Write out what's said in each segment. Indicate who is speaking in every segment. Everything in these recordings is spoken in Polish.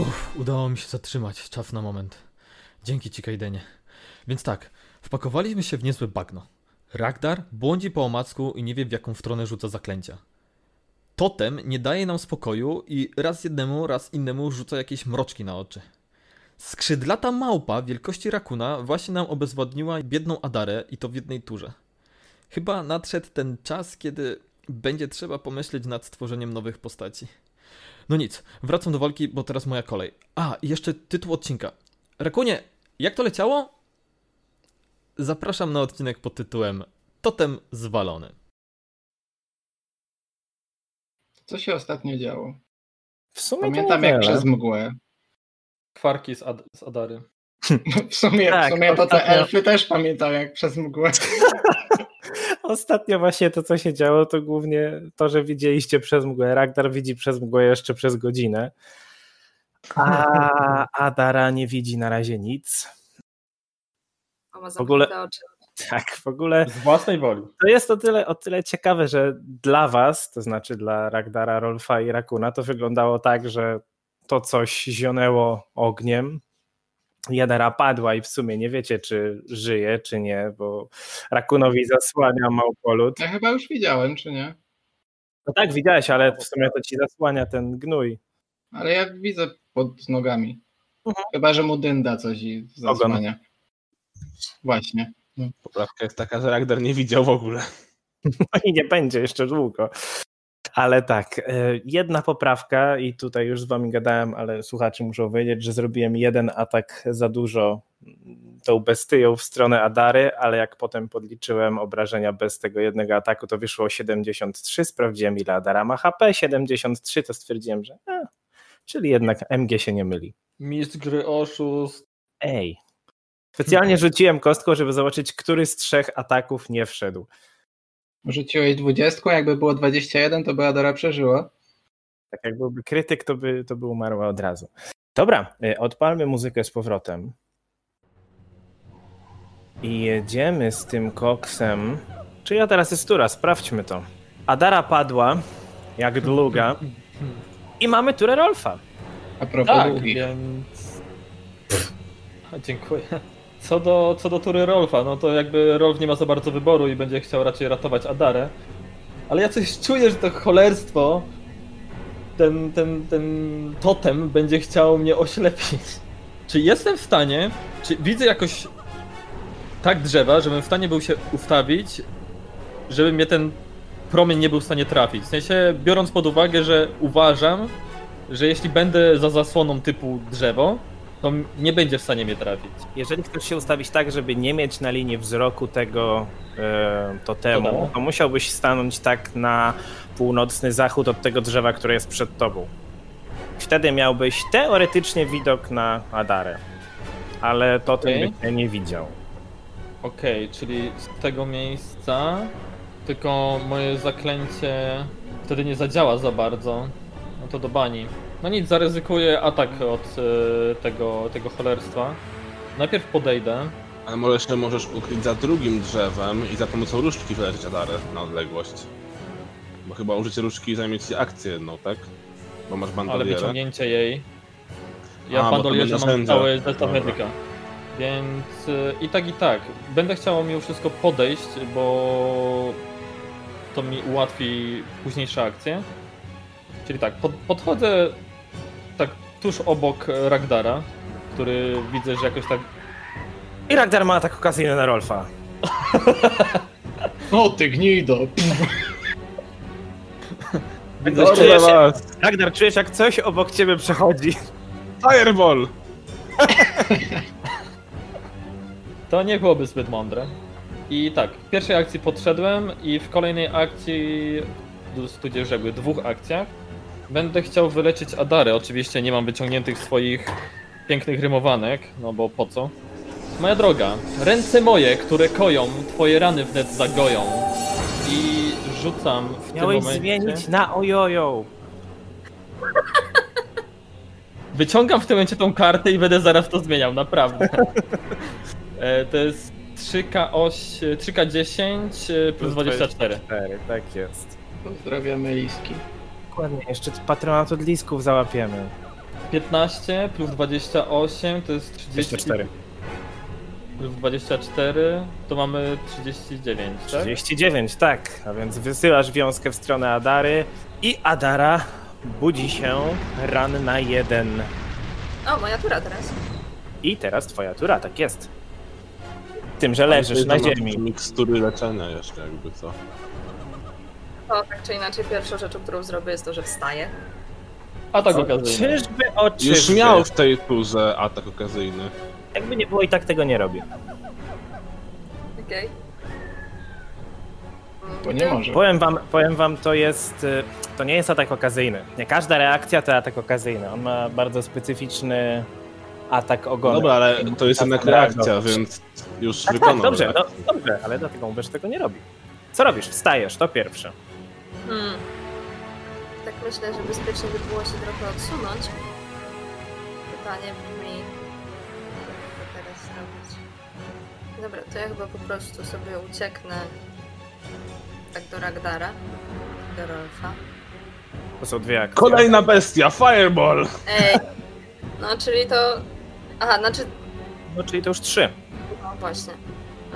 Speaker 1: Uff, udało mi się zatrzymać. Czas na moment. Dzięki ci, Kaidenie. Więc tak, wpakowaliśmy się w niezłe bagno. Ragdar błądzi po omacku i nie wie, w jaką stronę rzuca zaklęcia. Totem nie daje nam spokoju i raz jednemu, raz innemu rzuca jakieś mroczki na oczy. Skrzydlata małpa wielkości rakuna właśnie nam obezwładniła biedną Adarę i to w jednej turze. Chyba nadszedł ten czas, kiedy będzie trzeba pomyśleć nad stworzeniem nowych postaci. No nic, wracam do walki, bo teraz moja kolej. A, i jeszcze tytuł odcinka. Rakunie, jak to leciało? Zapraszam na odcinek pod tytułem Totem zwalony.
Speaker 2: Co się ostatnio działo?
Speaker 3: W sumie No to
Speaker 2: Pamiętam jak
Speaker 3: niewiele.
Speaker 2: przez mgłę.
Speaker 1: Kwarki z, Ad- z Adary.
Speaker 2: W sumie,
Speaker 3: Tak,
Speaker 2: w sumie to te
Speaker 3: ostatnio-
Speaker 2: elfy też pamiętają jak przez mgłę.
Speaker 3: Ostatnio właśnie to, co się działo, to głównie to, że widzieliście przez mgłę. Ragnar widzi przez mgłę jeszcze przez godzinę. A Adara nie widzi na razie nic.
Speaker 4: O, ma
Speaker 3: W ogóle-
Speaker 4: zamknięte oczy.
Speaker 3: Tak, w ogóle
Speaker 1: Z własnej woli.
Speaker 3: to jest o tyle, o tyle ciekawe, że dla was, to znaczy dla Ragdara, Rolfa i Rakuna, to wyglądało tak, że to coś zionęło ogniem. Jadara padła i w sumie nie wiecie, czy żyje, czy nie, bo Rakunowi zasłania małpolut.
Speaker 2: Ja chyba już widziałem, czy nie?
Speaker 3: No tak, widziałeś, ale w sumie to ci zasłania ten gnój.
Speaker 2: Ale ja widzę pod nogami.
Speaker 3: Mhm.
Speaker 2: Chyba, że mu dynda coś i zasłania. Właśnie.
Speaker 5: Poprawka jest taka, że Ragdar nie widział w ogóle.
Speaker 3: No i nie będzie jeszcze długo. Ale tak, e, jedna poprawka i tutaj już z wami gadałem, ale słuchacze muszą wiedzieć, że zrobiłem jeden atak za dużo mm, tą bestyją w stronę Adary, ale jak potem podliczyłem obrażenia bez tego jednego ataku, to wyszło 73, sprawdziłem ile Adara ma HP, 73, to stwierdziłem, że e, czyli jednak MG się nie myli.
Speaker 1: Mistrz gry oszust.
Speaker 3: Ej. Specjalnie rzuciłem kostką, żeby zobaczyć, który z trzech ataków nie wszedł.
Speaker 2: Rzuciłeś 20, jakby było 21, to by Adora przeżyła.
Speaker 3: Tak jak byłby krytyk, to by, to by umarła od razu. Dobra, y, odpalmy muzykę z powrotem. I jedziemy z tym koksem. Czy ja teraz jest tura? Sprawdźmy to. Adara padła, jak długa. I mamy turę Rolfa.
Speaker 2: A propos
Speaker 1: Tak,
Speaker 2: długich.
Speaker 1: więc... A, dziękuję. Co do, co do tury Rolfa, no to jakby Rolf nie ma za bardzo wyboru i będzie chciał raczej ratować Adarę. Ale ja coś czuję, że to cholerstwo, ten, ten, ten totem będzie chciał mnie oślepić. Czy jestem w stanie, czy widzę jakoś tak drzewa, żebym w stanie był się ustawić, żeby mnie ten promień nie był w stanie trafić. W sensie, biorąc pod uwagę, że uważam, że jeśli będę za zasłoną typu drzewo, to m- nie będzie w stanie mnie trafić.
Speaker 3: Jeżeli chcesz się ustawić tak, żeby nie mieć na linii wzroku tego e, totemu,
Speaker 1: Totemu.
Speaker 3: to musiałbyś stanąć tak na północny zachód od tego drzewa, które jest przed tobą. Wtedy miałbyś teoretycznie widok na Adarę, ale totem
Speaker 1: Okej.
Speaker 3: by cię nie widział.
Speaker 1: Okej, czyli z tego miejsca, tylko moje zaklęcie wtedy nie zadziała za bardzo. No to do bani. No nic, zaryzykuję atak od e, tego, tego cholerstwa. Najpierw podejdę.
Speaker 5: Ale może jeszcze możesz ukryć za drugim drzewem i za pomocą różdżki wyleczyć Adarę na odległość. Bo chyba użycie różdżki zajmie ci akcję jedną, tak? Bo masz
Speaker 1: Ale
Speaker 5: bandolierę.
Speaker 1: wyciągnięcie jej. Ja
Speaker 5: A, bo
Speaker 1: w
Speaker 5: to
Speaker 1: bandolierze
Speaker 5: będzie
Speaker 1: mam
Speaker 5: sędzia.
Speaker 1: cały zestaw
Speaker 5: Dobra.
Speaker 1: medyka. Więc y, i tak, i tak. Będę chciał mimo wszystko podejść, bo to mi ułatwi późniejsze akcje. Czyli tak, pod, podchodzę tak tuż obok e, Ragdara, który widzę, że jakoś tak
Speaker 3: I Ragnar ma atak okazyjny na Rolfa.
Speaker 2: O ty gnido!
Speaker 3: Ragnar
Speaker 1: Dobra,
Speaker 3: czujesz,
Speaker 5: Kurwa,
Speaker 3: Ragnar, czujesz jak coś obok ciebie przechodzi.
Speaker 5: Fireball!
Speaker 1: To nie byłoby zbyt mądre. I tak, w pierwszej akcji podszedłem i w kolejnej akcji, tu- tudzież jakby dwóch akcjach, będę chciał wyleczyć Adarę. Oczywiście nie mam wyciągniętych swoich pięknych rymowanek, no bo po co? Moja droga, ręce moje, które koją, twoje rany wnet zagoją. I rzucam
Speaker 3: Miałeś
Speaker 1: w tym momencie...
Speaker 3: zmienić na ojojo.
Speaker 1: Wyciągam w tym momencie tą kartę i będę zaraz to zmieniał, naprawdę. E, to jest 3K8, 3K10 e, plus 24.
Speaker 3: Cztery, tak jest.
Speaker 2: Pozdrawiamy Liski.
Speaker 3: Dokładnie, jeszcze patronat od lisków załapiemy.
Speaker 6: 15 plus 28 to jest 30.
Speaker 3: 24.
Speaker 6: Plus 24 to mamy 39, tak?
Speaker 3: 39, tak. A więc wysyłasz wiązkę w stronę Adary i Adara budzi się ranna jeden.
Speaker 4: O, moja tura teraz.
Speaker 3: I teraz twoja tura, tak jest. Tym, że leżysz na ziemi.
Speaker 5: Mikstury leczenia jeszcze jakby co.
Speaker 4: To tak czy inaczej pierwszą rzeczą, którą zrobię jest to, że wstaję.
Speaker 6: A tak okazuje.
Speaker 3: Czyżby oczy.
Speaker 5: Już miał w tej turze atak okazyjny.
Speaker 3: Jakby nie było i tak tego nie robię.
Speaker 4: Okej. Mm, Okay.
Speaker 2: Bo
Speaker 3: No.
Speaker 2: nie może.
Speaker 3: Powiem wam, powiem wam, to jest. y, To nie jest atak okazyjny. Nie każda reakcja to atak okazyjny. On ma bardzo specyficzny atak ogonu.
Speaker 5: Dobra, ale to jest
Speaker 3: Tak,
Speaker 5: jednak
Speaker 3: tak,
Speaker 5: reakcja,
Speaker 3: dobra.
Speaker 5: więc już
Speaker 3: tak, tak,
Speaker 5: wykonał
Speaker 3: dobrze, no,
Speaker 5: reakcję.
Speaker 3: dobrze, ale dlatego mówię, że tego nie robi. Co robisz? Wstajesz, to pierwsze.
Speaker 4: Hmm. Tak myślę, że bezpiecznie by było się trochę odsunąć. Pytanie brzmi, co teraz zrobić. Dobra, to ja chyba po prostu sobie ucieknę tak do Ragdara, do Rolfa.
Speaker 3: To są dwie akcje.
Speaker 5: Kolejna bestia, Fireball!
Speaker 4: Ej, no czyli to... Aha, znaczy...
Speaker 3: No, czyli to już trzy.
Speaker 4: No właśnie.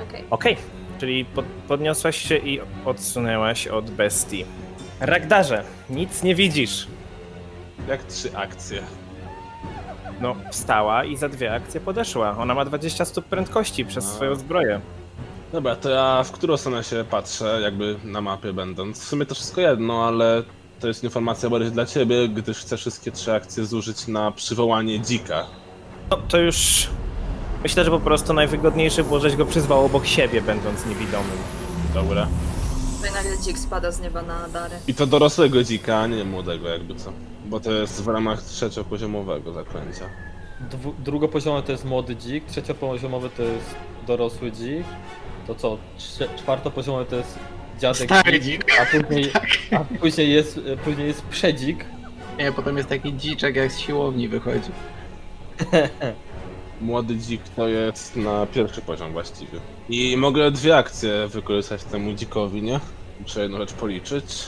Speaker 4: Okej.
Speaker 3: Okej, czyli pod, podniosłaś się i odsunęłaś od bestii. Ragdarze, nic nie widzisz.
Speaker 5: Jak trzy akcje.
Speaker 3: No, wstała i za dwie akcje podeszła. Ona ma 20 stóp prędkości przez
Speaker 5: A.
Speaker 3: swoją zbroję.
Speaker 5: Dobra, to ja w którą stronę się patrzę, jakby na mapie będąc. W sumie to wszystko jedno, ale to jest informacja bardziej dla ciebie, gdyż chcę wszystkie trzy akcje zużyć na przywołanie dzika.
Speaker 3: No, to już... Myślę, że po prostu najwygodniejsze było, żeś go przyzwał obok siebie, będąc niewidomym.
Speaker 5: Dobra.
Speaker 4: Tutaj nagle dzik spada z nieba na Darę.
Speaker 5: I to dorosłego dzika, a nie młodego jakby co. Bo to jest w ramach trzeciopoziomowego zaklęcia.
Speaker 6: Dwu- Drugopoziomowy to jest młody dzik, trzeciopoziomowy to jest dorosły dzik. To co? Trze- Czwartopoziomowy to jest dziadek
Speaker 2: Stary
Speaker 6: dzik,
Speaker 2: dzik.
Speaker 6: a później, a później jest, y, później jest przedzik.
Speaker 2: Nie, potem jest taki dziczek jak z siłowni wychodzi.
Speaker 5: Młody dzik to jest na pierwszy poziom właściwie. I mogę dwie akcje wykorzystać temu dzikowi, nie? Muszę jedną rzecz policzyć.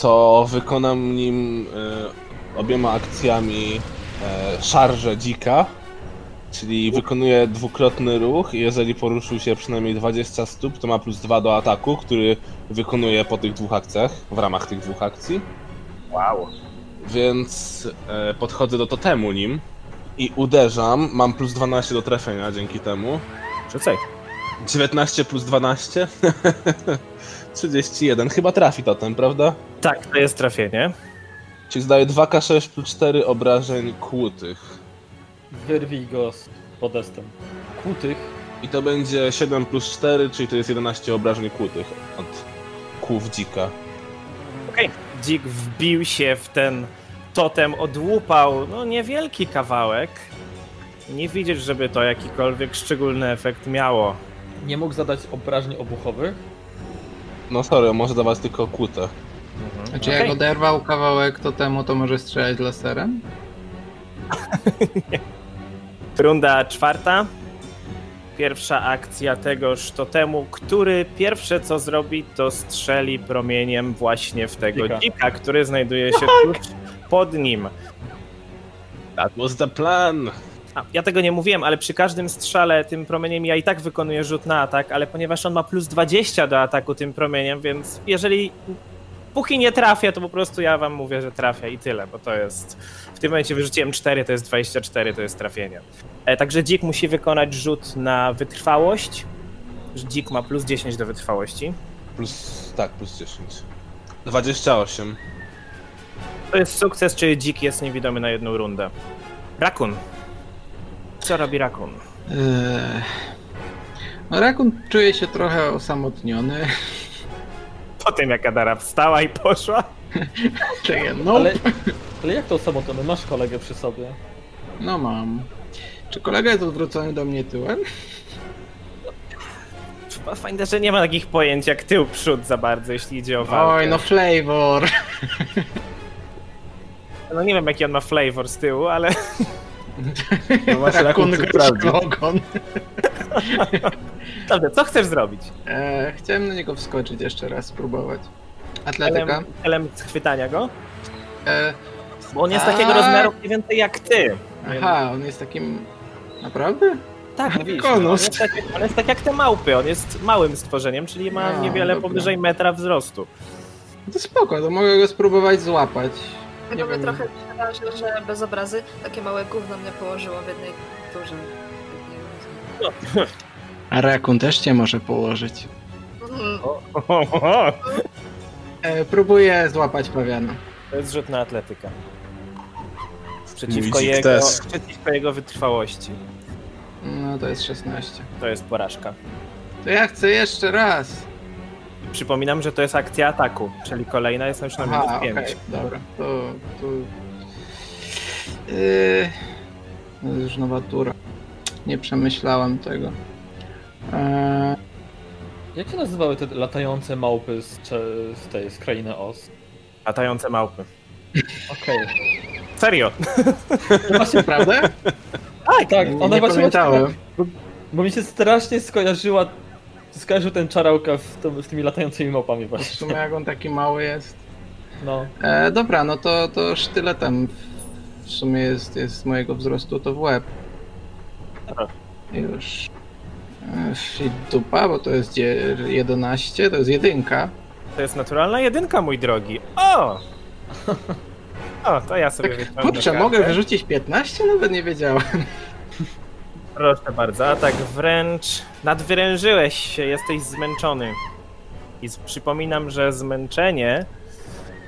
Speaker 5: To wykonam nim e, obiema akcjami e, szarżę dzika, czyli wykonuję dwukrotny ruch i jeżeli poruszył się przynajmniej 20 stóp, to ma plus 2 do ataku, który wykonuje po tych dwóch akcjach, w ramach tych dwóch akcji.
Speaker 3: Wow.
Speaker 5: Więc e, podchodzę do totemu nim i uderzam. Mam plus 12 do trafienia dzięki temu.
Speaker 3: Rzucaj.
Speaker 5: 19 plus 12? 31. Chyba trafi totem, prawda?
Speaker 3: Tak, to jest trafienie.
Speaker 5: Czyli zdaje 2k6 plus 4 obrażeń kłutych.
Speaker 6: Wyrwij go z podestem. Kłutych.
Speaker 5: I to będzie 7 plus 4, czyli to jest 11 obrażeń kłutych od kłów dzika.
Speaker 3: Okej. Dzik wbił się w ten totem, odłupał, no niewielki kawałek. Nie widzisz, żeby to jakikolwiek szczególny efekt miało.
Speaker 6: Nie mógł zadać obrażeń obuchowych.
Speaker 5: No sorry, może dawać tylko kłutę.
Speaker 2: Znaczy
Speaker 3: Okej.
Speaker 2: jak oderwał kawałek to temu, to może strzelać laserem?
Speaker 3: Runda czwarta. Pierwsza akcja tegoż totemu, który pierwsze co zrobi, to strzeli promieniem właśnie w tego
Speaker 6: Dzika.
Speaker 3: dzika, który znajduje się tuż pod nim.
Speaker 5: That was the plan!
Speaker 3: A, ja tego nie mówiłem, ale przy każdym strzale tym promieniem ja i tak wykonuję rzut na atak, ale ponieważ on ma plus 20 do ataku tym promieniem, więc jeżeli póki nie trafia, to po prostu ja wam mówię, że trafia i tyle, bo to jest... W tym momencie wyrzuciłem 4, to jest 24, to jest trafienie. E, także dzik musi wykonać rzut na wytrwałość. Dzik ma plus 10 do wytrwałości.
Speaker 5: Plus, tak, plus 10. 28.
Speaker 3: To jest sukces, czyli dzik jest niewidomy na jedną rundę. Rakun. Co robi Rakun?
Speaker 2: Eee. No Rakun czuje się trochę osamotniony.
Speaker 3: Po tym jak Adara wstała i poszła.
Speaker 2: Takie, no,
Speaker 6: Ale, ale jak to samotony? Masz kolegę przy sobie.
Speaker 2: no mam. Czy kolega jest odwrócony do mnie tyłem?
Speaker 3: Fajne, że nie ma takich pojęć jak tył przód za bardzo, jeśli idzie o walkę.
Speaker 2: Oj, no flavor.
Speaker 3: no nie wiem jaki on ma flavor z tyłu, ale
Speaker 5: No właśnie,
Speaker 2: Rakun
Speaker 5: Rakun
Speaker 2: gryzł
Speaker 5: prawdziwy.
Speaker 2: ogon.
Speaker 3: dobrze, co chcesz zrobić?
Speaker 2: Eee, chciałem na niego wskoczyć jeszcze raz, spróbować. Atletyka.
Speaker 3: Elem- Element chwytania go?
Speaker 2: Eee,
Speaker 3: Bo on jest takiego
Speaker 2: A.
Speaker 3: rozmiaru mniej więcej jak ty.
Speaker 2: Aha, on jest takim... Naprawdę?
Speaker 3: Tak, widzisz.
Speaker 2: Konus.
Speaker 3: On jest, tak, on jest tak jak te małpy, on jest małym stworzeniem, czyli ma
Speaker 2: No,
Speaker 3: niewiele
Speaker 2: dobra.
Speaker 3: powyżej metra wzrostu.
Speaker 2: To spoko, to mogę go spróbować złapać.
Speaker 4: Chyba
Speaker 2: Nie
Speaker 4: mnie
Speaker 2: wiem.
Speaker 4: trochę przeraża, że bez obrazy takie małe gówno mnie położyło w jednej dużej.
Speaker 2: A rakun też cię może położyć.
Speaker 4: Mhm.
Speaker 2: E, próbuję złapać pawiana.
Speaker 3: To jest rzut na atletykę. Przeciwko
Speaker 5: Widzik
Speaker 3: jego,
Speaker 5: też.
Speaker 3: przeciwko jego wytrwałości.
Speaker 2: No to jest 16.
Speaker 3: To jest porażka.
Speaker 2: To ja chcę jeszcze raz.
Speaker 3: Przypominam, że to jest akcja ataku, czyli kolejna jest już na minus
Speaker 2: Aha, okej,
Speaker 3: 5.
Speaker 2: dobra. To... to... Yy, to jest już nowa tura. Nie przemyślałem tego. Eee,
Speaker 6: Jak się nazywały te latające małpy z, cze- z tej, z krainy Oz?
Speaker 3: Latające małpy.
Speaker 6: Okej.
Speaker 3: Serio?
Speaker 6: Właśnie,
Speaker 2: prawda?
Speaker 6: tak, tak,
Speaker 2: nie
Speaker 6: ona
Speaker 2: nie
Speaker 6: właśnie...
Speaker 2: pamiętałem.
Speaker 6: Bo mi się strasznie skojarzyła, skojarzył ten czarałka w, tym- z tymi latającymi małpami
Speaker 2: W
Speaker 6: właśnie.
Speaker 2: sumie jak on taki mały jest.
Speaker 6: No.
Speaker 2: E, dobra, no to, to sztyletem w sumie jest, jest mojego wzrostu, to w łeb.
Speaker 3: Aha.
Speaker 2: Już. Ech, I dupa, bo to jest dzie- 11, to jest jedynka.
Speaker 3: To jest naturalna jedynka, mój drogi. O! O, to ja sobie wyciągnę
Speaker 2: Tak, Kurczę,
Speaker 3: kartę.
Speaker 2: mogę wyrzucić 15? Nawet nie wiedziałem.
Speaker 3: Proszę bardzo, a tak wręcz nadwyrężyłeś się, jesteś zmęczony. I z- przypominam, że zmęczenie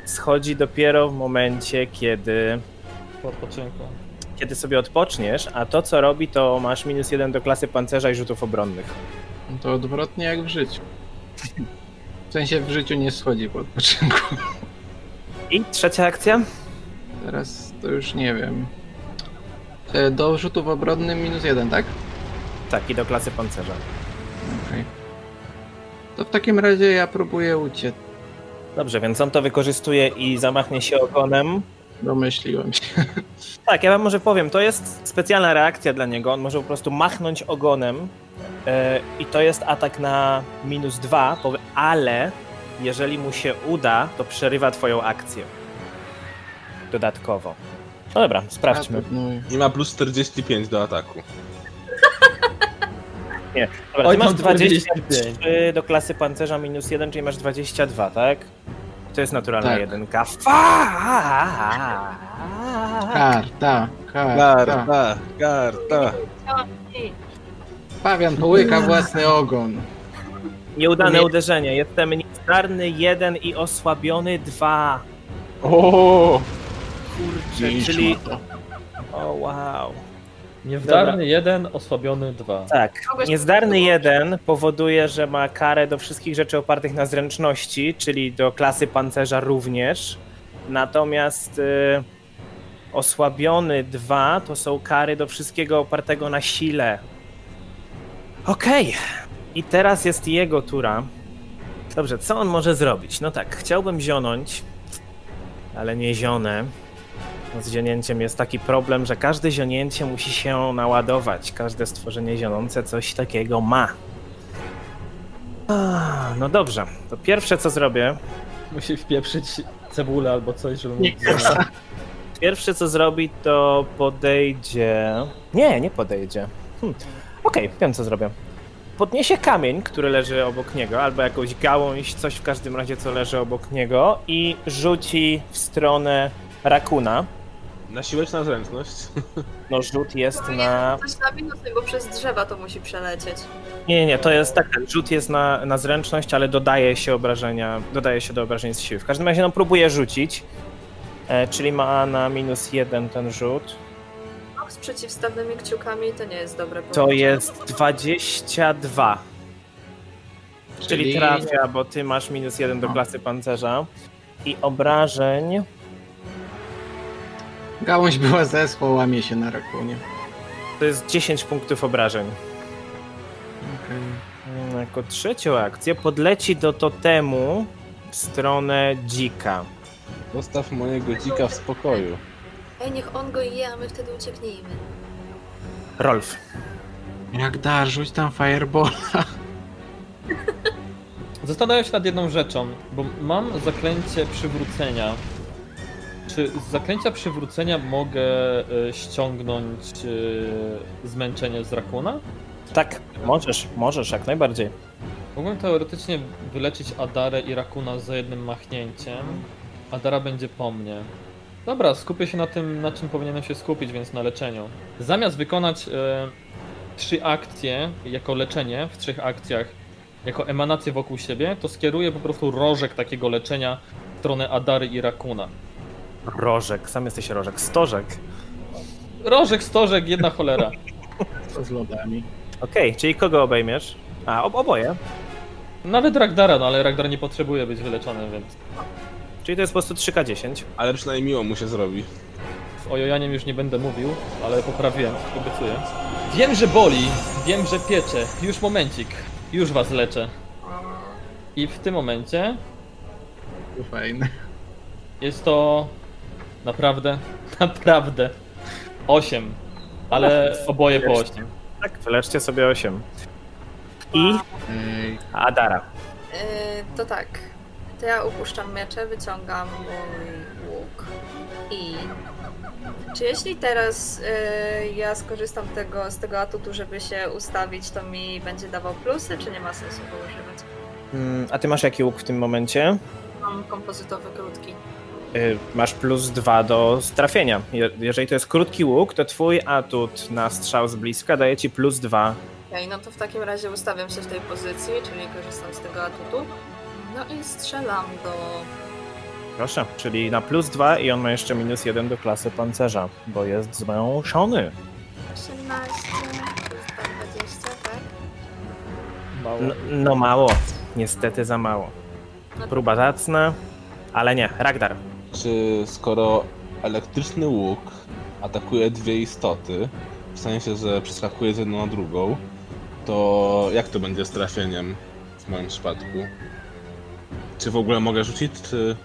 Speaker 3: schodzi dopiero w momencie, kiedy,
Speaker 6: Po odpoczynku.
Speaker 3: kiedy sobie odpoczniesz, a to co robi, to masz minus jeden do klasy pancerza i rzutów obronnych.
Speaker 2: No To odwrotnie jak w życiu. W sensie w życiu nie schodzi po odpoczynku.
Speaker 3: I trzecia akcja?
Speaker 2: Teraz to już nie wiem. E, Do rzutów obronnych minus jeden, tak?
Speaker 3: Tak, i do klasy pancerza.
Speaker 2: Okej. To w takim razie ja próbuję uciec.
Speaker 3: Dobrze, więc on to wykorzystuje i zamachnie się ogonem.
Speaker 2: Domyśliłem się.
Speaker 3: Tak, ja wam może powiem, to jest specjalna reakcja dla niego. On może po prostu machnąć ogonem e, i to jest atak na minus dwa, powie- ale jeżeli mu się uda, to przerywa twoją akcję. Dodatkowo. No dobra, sprawdźmy.
Speaker 2: Atakuj.
Speaker 5: I ma plus 45 do ataku.
Speaker 3: Dobra, ty
Speaker 6: Oj,
Speaker 3: masz
Speaker 6: tam
Speaker 3: 23 do klasy pancerza minus jeden, czyli masz 22, tak? To jest naturalna
Speaker 2: Tak.
Speaker 3: jedynka. Tak.
Speaker 2: Karta, karta.
Speaker 5: Karta, karta.
Speaker 4: I
Speaker 2: Pawian połyka własny ogon.
Speaker 3: Nieudane
Speaker 2: Nie-
Speaker 3: uderzenie. Jestem niezdarny jeden i osłabiony dwa.
Speaker 5: O!
Speaker 3: Kurczę,
Speaker 5: Pięć
Speaker 3: czyli...
Speaker 5: ma to.
Speaker 3: O wow.
Speaker 6: Niewdarny jeden, osłabiony dwa.
Speaker 3: Tak.
Speaker 4: Kogoś-
Speaker 3: Niezdarny jeden powoduje, że ma karę do wszystkich rzeczy opartych na zręczności, czyli do klasy pancerza również. Natomiast y, osłabiony dwa to są kary do wszystkiego opartego na sile. Okej. I teraz jest jego tura. Dobrze, co on może zrobić? No tak, chciałbym zionąć, ale nie zionę. Z zionięciem jest taki problem, że każde zionięcie musi się naładować. Każde stworzenie zionące coś takiego ma. Ah, No dobrze, to pierwsze co zrobię,
Speaker 6: Musi wpieprzyć cebulę albo coś, żeby mu...
Speaker 2: Nie kasa.
Speaker 3: pierwsze co zrobi to podejdzie... Nie, nie podejdzie. Hmm. Okej, wiem co zrobię. Podniesie kamień, który leży obok niego, albo jakąś gałąź, coś w każdym razie co leży obok niego i rzuci w stronę rakuna.
Speaker 5: Na siłę czy na zręczność?
Speaker 3: No rzut jest na
Speaker 4: Coś na minus, bo przez drzewa to musi przelecieć.
Speaker 3: Nie, nie, nie, to jest tak, tak, rzut jest na, na zręczność, ale dodaje się obrażenia, dodaje się do obrażeń z siły. W każdym razie no próbuje rzucić, e, czyli ma na minus jeden ten rzut.
Speaker 4: No, z przeciwstawnymi kciukami to nie jest dobre.
Speaker 3: To
Speaker 4: połączenie.
Speaker 3: jest 22, czyli trafia, bo ty masz minus jeden do
Speaker 2: No.
Speaker 3: klasy pancerza. I obrażeń,
Speaker 2: Gałąź była zeschła, łamie się na rakunie.
Speaker 3: to jest 10 punktów obrażeń.
Speaker 2: Okej.
Speaker 3: Mm, Jako trzecią akcję podleci do totemu w stronę dzika.
Speaker 5: Zostaw mojego dzika w spokoju.
Speaker 4: Ej, niech on go je, a my wtedy ucieknijmy.
Speaker 3: Rolf.
Speaker 2: Jak da, rzuć tam fireball.
Speaker 6: Zastanawiam się nad jedną rzeczą, bo mam zaklęcie przywrócenia
Speaker 1: Czy z zaklęcia przywrócenia mogę e, ściągnąć e, zmęczenie z Rakuna?
Speaker 3: Tak, możesz, możesz, jak najbardziej.
Speaker 1: Mogłem teoretycznie wyleczyć Adarę i Rakuna za jednym machnięciem. Adara będzie po mnie. Dobra, skupię się na tym, na czym powinienem się skupić, więc na leczeniu. Zamiast wykonać e, trzy akcje jako leczenie w trzech akcjach, jako emanację wokół siebie, to skieruję po prostu rożek takiego leczenia w stronę Adary i Rakuna.
Speaker 3: Rożek, sam jesteś rożek, stożek.
Speaker 1: Rożek, stożek, jedna cholera.
Speaker 2: z lodami.
Speaker 3: Okej, czyli kogo obejmiesz? A, ob oboje.
Speaker 1: Nawet Ragdara, no ale Ragdar nie potrzebuje być wyleczony, więc
Speaker 3: Czyli to jest po prostu 3K10.
Speaker 5: Ale przynajmniej miło mu się zrobi.
Speaker 1: z ojojaniem już nie będę mówił, ale poprawiłem, obiecuję. Wiem, że boli, wiem, że piecze. Już momencik, już was leczę. I w tym momencie
Speaker 2: To fajne.
Speaker 1: jest to naprawdę, naprawdę 8. Ale oboje po 8.
Speaker 3: Tak, wyleczcie sobie 8. I
Speaker 2: Ej,
Speaker 3: Adara.
Speaker 4: Yy, to tak. To ja upuszczam miecze, wyciągam mój łuk i... Czy jeśli teraz yy, ja skorzystam tego, z tego atutu, żeby się ustawić, to mi będzie dawał plusy, czy nie ma sensu go używać?
Speaker 3: Mm, A ty masz jaki łuk w tym momencie?
Speaker 4: Mam kompozytowy krótki.
Speaker 3: Y, Masz plus 2 do trafienia. Je- Jeżeli to jest krótki łuk, to twój atut na strzał z bliska daje ci plus 2.
Speaker 4: Okej, no to w takim razie ustawiam się w tej pozycji, czyli korzystam z tego atutu. No i strzelam do...
Speaker 3: Proszę, czyli na plus 2 i on ma jeszcze minus 1 do klasy pancerza, bo jest zmęczony.
Speaker 4: 18, plus 20, tak?
Speaker 1: Mało.
Speaker 3: No, no mało. Niestety za mało.
Speaker 4: No to
Speaker 3: Próba zacna, ale nie. Ragdar.
Speaker 5: Czy skoro elektryczny łuk atakuje dwie istoty, w sensie, że przeskakuje z jedną na drugą, to jak to będzie z trafieniem w moim przypadku? Czy w ogóle mogę rzucić, czy...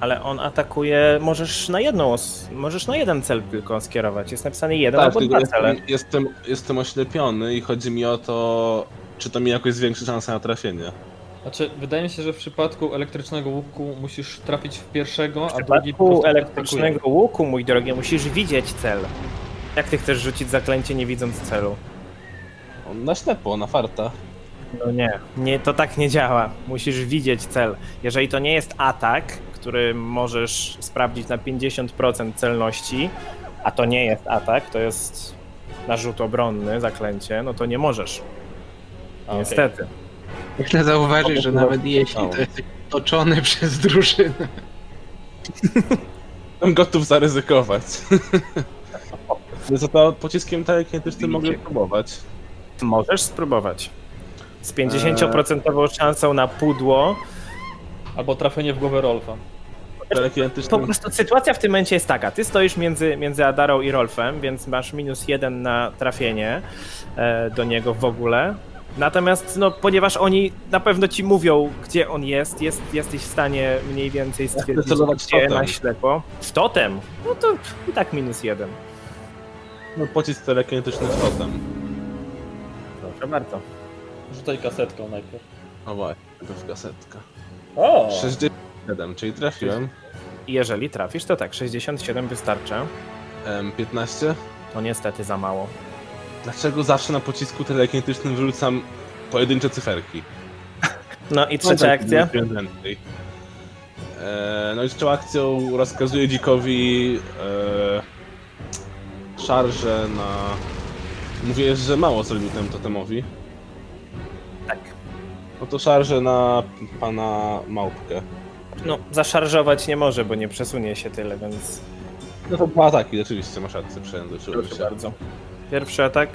Speaker 3: Ale on atakuje, możesz na jedną, os- możesz na jeden cel tylko skierować. Jest napisany jeden
Speaker 5: tak,
Speaker 3: albo
Speaker 5: tylko
Speaker 3: dwa cele.
Speaker 5: jestem, jestem, jestem oślepiony i chodzi mi o to, czy to mi jakoś zwiększy szansę na trafienie.
Speaker 1: Znaczy, wydaje mi się, że w przypadku elektrycznego łuku musisz trafić w pierwszego,
Speaker 3: W
Speaker 1: a drugi po
Speaker 3: przypadku
Speaker 1: prostu
Speaker 3: elektrycznego łuku, mój drogi, musisz widzieć cel. Jak ty chcesz rzucić zaklęcie nie widząc celu?
Speaker 5: On na ślepo, na farta.
Speaker 3: No nie. nie. To tak nie działa. Musisz widzieć cel. Jeżeli to nie jest atak, który możesz sprawdzić na 50% celności, a to nie jest atak, to jest narzut obronny, zaklęcie, no to nie możesz.
Speaker 1: A, okej.
Speaker 3: Niestety.
Speaker 2: Myślę zauważyć, że nawet jeśli to jest toczony przez drużynę.
Speaker 5: Jestem gotów zaryzykować. Za to pociskiem telekinetycznym mogę próbować.
Speaker 3: Możesz spróbować. Z 50% szansą na pudło.
Speaker 1: Albo trafienie w głowę Rolfa.
Speaker 3: Po
Speaker 5: Telekinetycznym
Speaker 3: prostu sytuacja w tym momencie jest taka. Ty stoisz między, między Adarą i Rolfem, więc masz minus jeden na trafienie e, do niego w ogóle. Natomiast, no, ponieważ oni na pewno ci mówią, gdzie on jest, jest jesteś w stanie mniej więcej stwierdzić,
Speaker 5: celować w
Speaker 3: gdzie
Speaker 5: totem.
Speaker 3: na ślepo. W totem? No to i tak minus jeden.
Speaker 5: No, pocisk telekinetyczny z totem.
Speaker 3: Proszę bardzo.
Speaker 1: Rzucaj kasetką najpierw.
Speaker 5: O właśnie, najpierw kasetka.
Speaker 1: O!
Speaker 5: 67, czyli trafiłem.
Speaker 3: I jeżeli trafisz, to tak, 67 wystarczy.
Speaker 5: Em, 15.
Speaker 3: To No, niestety za mało.
Speaker 5: Dlaczego zawsze na pocisku telekinetycznym wyrzucam pojedyncze cyferki?
Speaker 3: No i trzecia
Speaker 5: tak,
Speaker 3: akcja.
Speaker 5: E, No i trzecią akcją rozkazuję dzikowi e, szarżę na... Mówię, że mało zrobił temu totemowi.
Speaker 3: Tak.
Speaker 5: No to szarżę na pana małpkę.
Speaker 3: No, zaszarżować nie może, bo nie przesunie się tyle, więc
Speaker 5: No to dwa ataki, rzeczywiście, masz rację, przejęzyczyłem
Speaker 3: proszę
Speaker 5: się.
Speaker 3: bardzo. Pierwszy atak,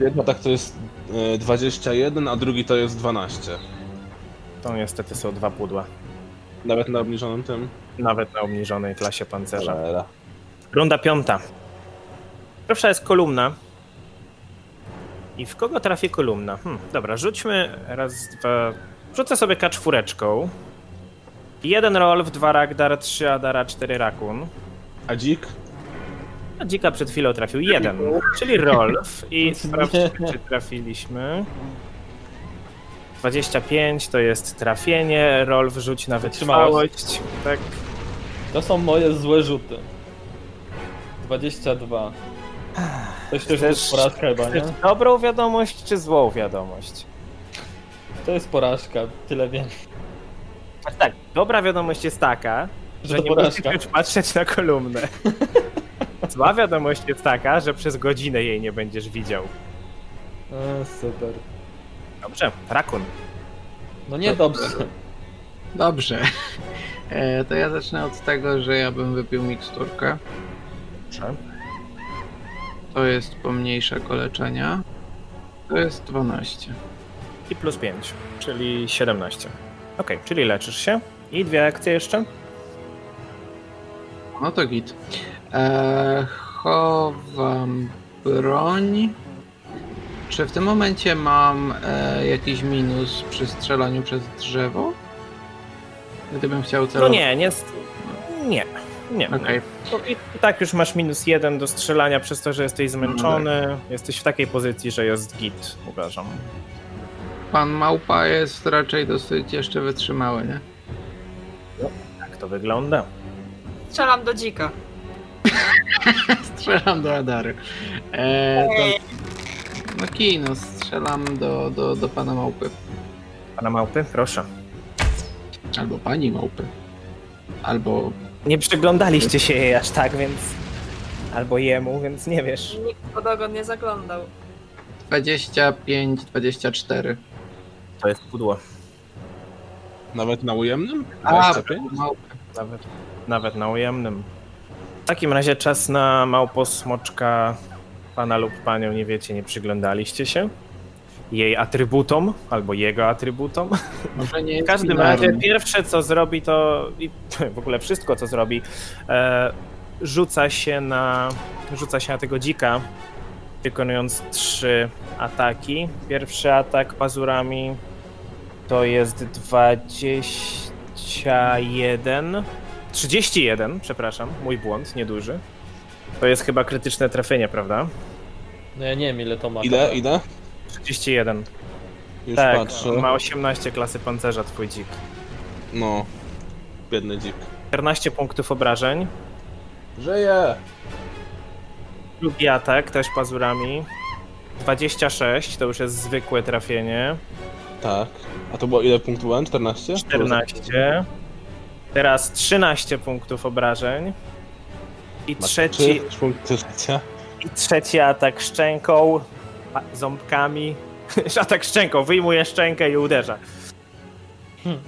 Speaker 5: Jeden atak tak to jest e, 21, a drugi to jest 12.
Speaker 3: to niestety są dwa pudła.
Speaker 5: Nawet na obniżonym tym.
Speaker 3: Nawet na obniżonej klasie pancerza.
Speaker 5: Cholera.
Speaker 3: Runda piąta. Pierwsza jest kolumna. I w kogo trafi kolumna? Hm, dobra, rzućmy raz, dwa... Rzucę sobie kaczwóreczką. Jeden Rolf, dwa Ragdar, trzy Adara, cztery Rakun.
Speaker 5: A dzik?
Speaker 3: A No, dzika przed chwilą trafił jeden, czyli Rolf. I sprawdźmy, czy trafiliśmy. 25 to jest trafienie, Rolf rzuć na
Speaker 1: Wytrzymałość.
Speaker 3: wytrzymałość. Tak,
Speaker 1: To są moje złe rzuty. 22. Coś też to jest
Speaker 3: Chcesz-
Speaker 1: porażka chyba, nie?
Speaker 3: Chcesz dobrą wiadomość czy złą wiadomość?
Speaker 1: To jest porażka, tyle wiem.
Speaker 3: A Tak, dobra wiadomość jest taka, że
Speaker 1: To
Speaker 3: nie
Speaker 1: porażka.
Speaker 3: musisz już patrzeć na kolumnę. Zła wiadomość jest taka, że przez godzinę jej nie będziesz widział.
Speaker 1: E, super.
Speaker 3: Dobrze, rakun.
Speaker 1: No nie dobrze.
Speaker 2: Dobrze. E, to ja zacznę od tego, że ja bym wypił miksturkę.
Speaker 3: Dobrze.
Speaker 2: To jest pomniejsza koleczenia. To jest 12.
Speaker 3: I plus 5, czyli 17. Okej, czyli leczysz się. I dwie akcje jeszcze?
Speaker 2: No to git. E, chowam broń. Czy w tym momencie mam e, jakiś minus przy strzelaniu przez drzewo? Gdybym chciał
Speaker 3: No
Speaker 2: celować.
Speaker 3: nie, nie. st- Nie, nie.
Speaker 2: Okej,
Speaker 3: No I i tak już masz minus jeden do strzelania przez to, że jesteś zmęczony. Jesteś w takiej pozycji, że jest git, uważam.
Speaker 2: pan małpa jest raczej dosyć jeszcze wytrzymały, nie?
Speaker 3: Tak to wygląda.
Speaker 4: Strzelam do dzika.
Speaker 2: Strzelam do radary. E, to... No kij, no strzelam do, do, do pana małpy.
Speaker 3: Pana małpy, proszę.
Speaker 2: Albo pani małpy. Albo
Speaker 3: Nie przyglądaliście się jej aż tak, więc. Albo jemu, więc nie wiesz.
Speaker 4: Nikt pod ogon nie zaglądał.
Speaker 2: 25, 24.
Speaker 3: To jest pudło.
Speaker 5: Nawet na ujemnym?
Speaker 2: A,
Speaker 5: 25?
Speaker 2: małpy.
Speaker 3: Nawet, nawet na ujemnym. W takim razie czas na małposmoczka pana lub panią, nie wiecie, nie przyglądaliście się jej atrybutom albo jego atrybutom.
Speaker 2: Może nie
Speaker 3: W
Speaker 2: jest
Speaker 3: każdym
Speaker 2: binarny.
Speaker 3: razie pierwsze co zrobi to i w ogóle wszystko co zrobi e, rzuca się na rzuca się na tego dzika wykonując trzy ataki. Pierwszy atak pazurami to jest 21 31, przepraszam, mój błąd, nieduży. To jest chyba krytyczne trafienie, prawda?
Speaker 1: No ja nie wiem ile to ma.
Speaker 5: Ile, ile?
Speaker 3: 31.
Speaker 5: Już
Speaker 3: tak,
Speaker 5: patrzę.
Speaker 3: ma 18 klasy pancerza twój dzik.
Speaker 5: No. Biedny dzik.
Speaker 3: 14 punktów obrażeń.
Speaker 5: Żyje!
Speaker 3: Drugi atak też pazurami. 26 to już jest zwykłe trafienie.
Speaker 5: Tak. A to było ile punktów byłem? 14?
Speaker 3: 14. Teraz 13 punktów obrażeń. I
Speaker 5: Ma
Speaker 3: trzeci,
Speaker 5: trzy punkty życia.
Speaker 3: i trzeci atak szczęką, pa- ząbkami. atak szczęką, wyjmuje szczękę i uderza.
Speaker 1: Hmm.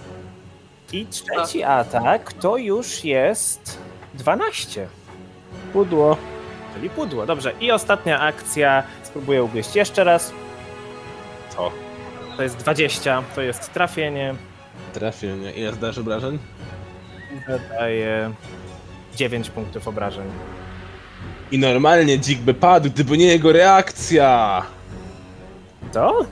Speaker 3: I trzeci atak to już jest 12. Pudło. Czyli pudło, dobrze. I ostatnia akcja, spróbuję ugryźć jeszcze raz.
Speaker 5: To.
Speaker 3: To jest 20, to jest trafienie.
Speaker 5: Trafił, nie? Ile zdarzy obrażeń?
Speaker 3: Zadaje 9 punktów obrażeń.
Speaker 5: I normalnie dzik by padł, gdyby nie jego reakcja!
Speaker 3: To?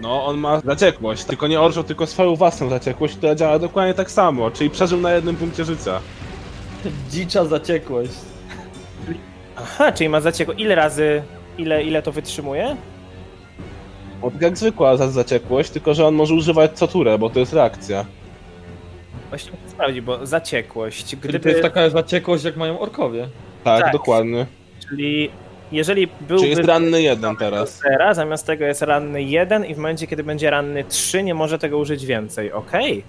Speaker 5: No, on ma zaciekłość, tylko nie orzeł, tylko swoją własną zaciekłość, która działa dokładnie tak samo, czyli przeżył na jednym punkcie życia.
Speaker 1: Dzicza zaciekłość.
Speaker 3: Aha, czyli ma zaciekło. Ile razy, ile, ile to wytrzymuje?
Speaker 5: On tak jak zwykła za zaciekłość, tylko że on może używać co turę, bo to jest reakcja.
Speaker 3: Właśnie muszę sprawdzić, bo zaciekłość.
Speaker 1: Gdyby... To jest
Speaker 3: Gdyby,
Speaker 1: taka zaciekłość jak mają orkowie.
Speaker 5: Tak,
Speaker 3: Tak.
Speaker 5: dokładnie.
Speaker 3: czyli jeżeli byłby
Speaker 5: Czyli jest ranny jeden teraz.
Speaker 3: zera, zamiast tego jest ranny 1 i w momencie, kiedy będzie ranny 3, nie może tego użyć więcej. Okej.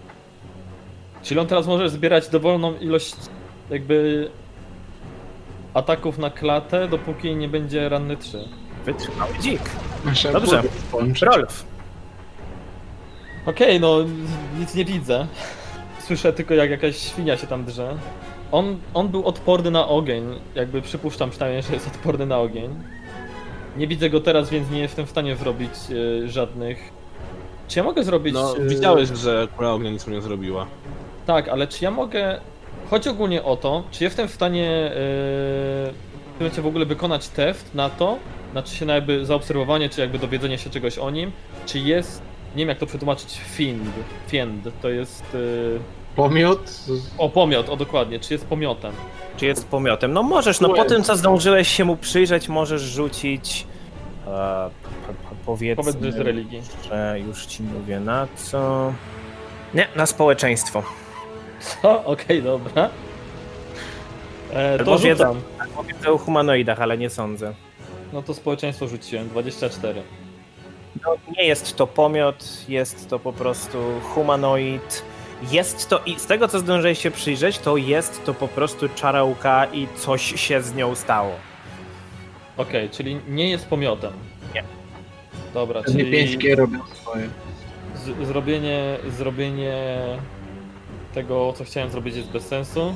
Speaker 1: Czyli on teraz może zbierać dowolną ilość jakby ataków na klatę, dopóki nie będzie ranny 3.
Speaker 3: Wytrzymały dzik.
Speaker 2: Nasza
Speaker 3: Dobrze.
Speaker 2: budę włączyć.
Speaker 3: Rolf.
Speaker 1: Okej, no nic nie widzę. Słyszę tylko jak jakaś świnia się tam drze. On, on był odporny na ogień, jakby przypuszczam przynajmniej, że jest odporny na ogień. Nie widzę go teraz, więc nie jestem w stanie zrobić e, żadnych... Czy ja mogę zrobić...
Speaker 5: No,
Speaker 1: e,
Speaker 5: widziałeś, że kula ognia nic mu nie zrobiła.
Speaker 1: Tak, ale czy ja mogę. Chodzi ogólnie o to, czy jestem w stanie yy, w tym momencie w ogóle wykonać test na to, znaczy się na jakby zaobserwowanie, czy jakby dowiedzenie się czegoś o nim, czy jest, nie wiem jak to przetłumaczyć, fiend, fiend, to jest yy,
Speaker 2: Pomiot. z-
Speaker 1: o pomiot, o dokładnie, czy jest pomiotem.
Speaker 3: Czy jest pomiotem? No możesz, no po tym co zdążyłeś się mu przyjrzeć, możesz rzucić. E, po- po- powiedzmy,
Speaker 1: Powiedz, że z religii.
Speaker 3: że E, już ci mówię na co. Nie, na społeczeństwo.
Speaker 1: Co? Okej, dobra. E,
Speaker 3: Albo
Speaker 1: to
Speaker 3: wiedzą.
Speaker 1: rzucam.
Speaker 3: Mówię o humanoidach, ale nie sądzę.
Speaker 1: No to społeczeństwo rzuciłem, 24.
Speaker 3: No, nie jest to pomiot, jest to po prostu humanoid. Jest to, i z tego co zdążyłeś się przyjrzeć, to jest to po prostu czarałka i coś się z nią stało.
Speaker 1: Okej, czyli nie jest pomiotem.
Speaker 3: Nie.
Speaker 1: Dobra,
Speaker 2: Pewnie
Speaker 1: czyli
Speaker 2: pięćkie robią swoje.
Speaker 1: z, zrobienie, zrobienie tego, co chciałem zrobić jest bez sensu.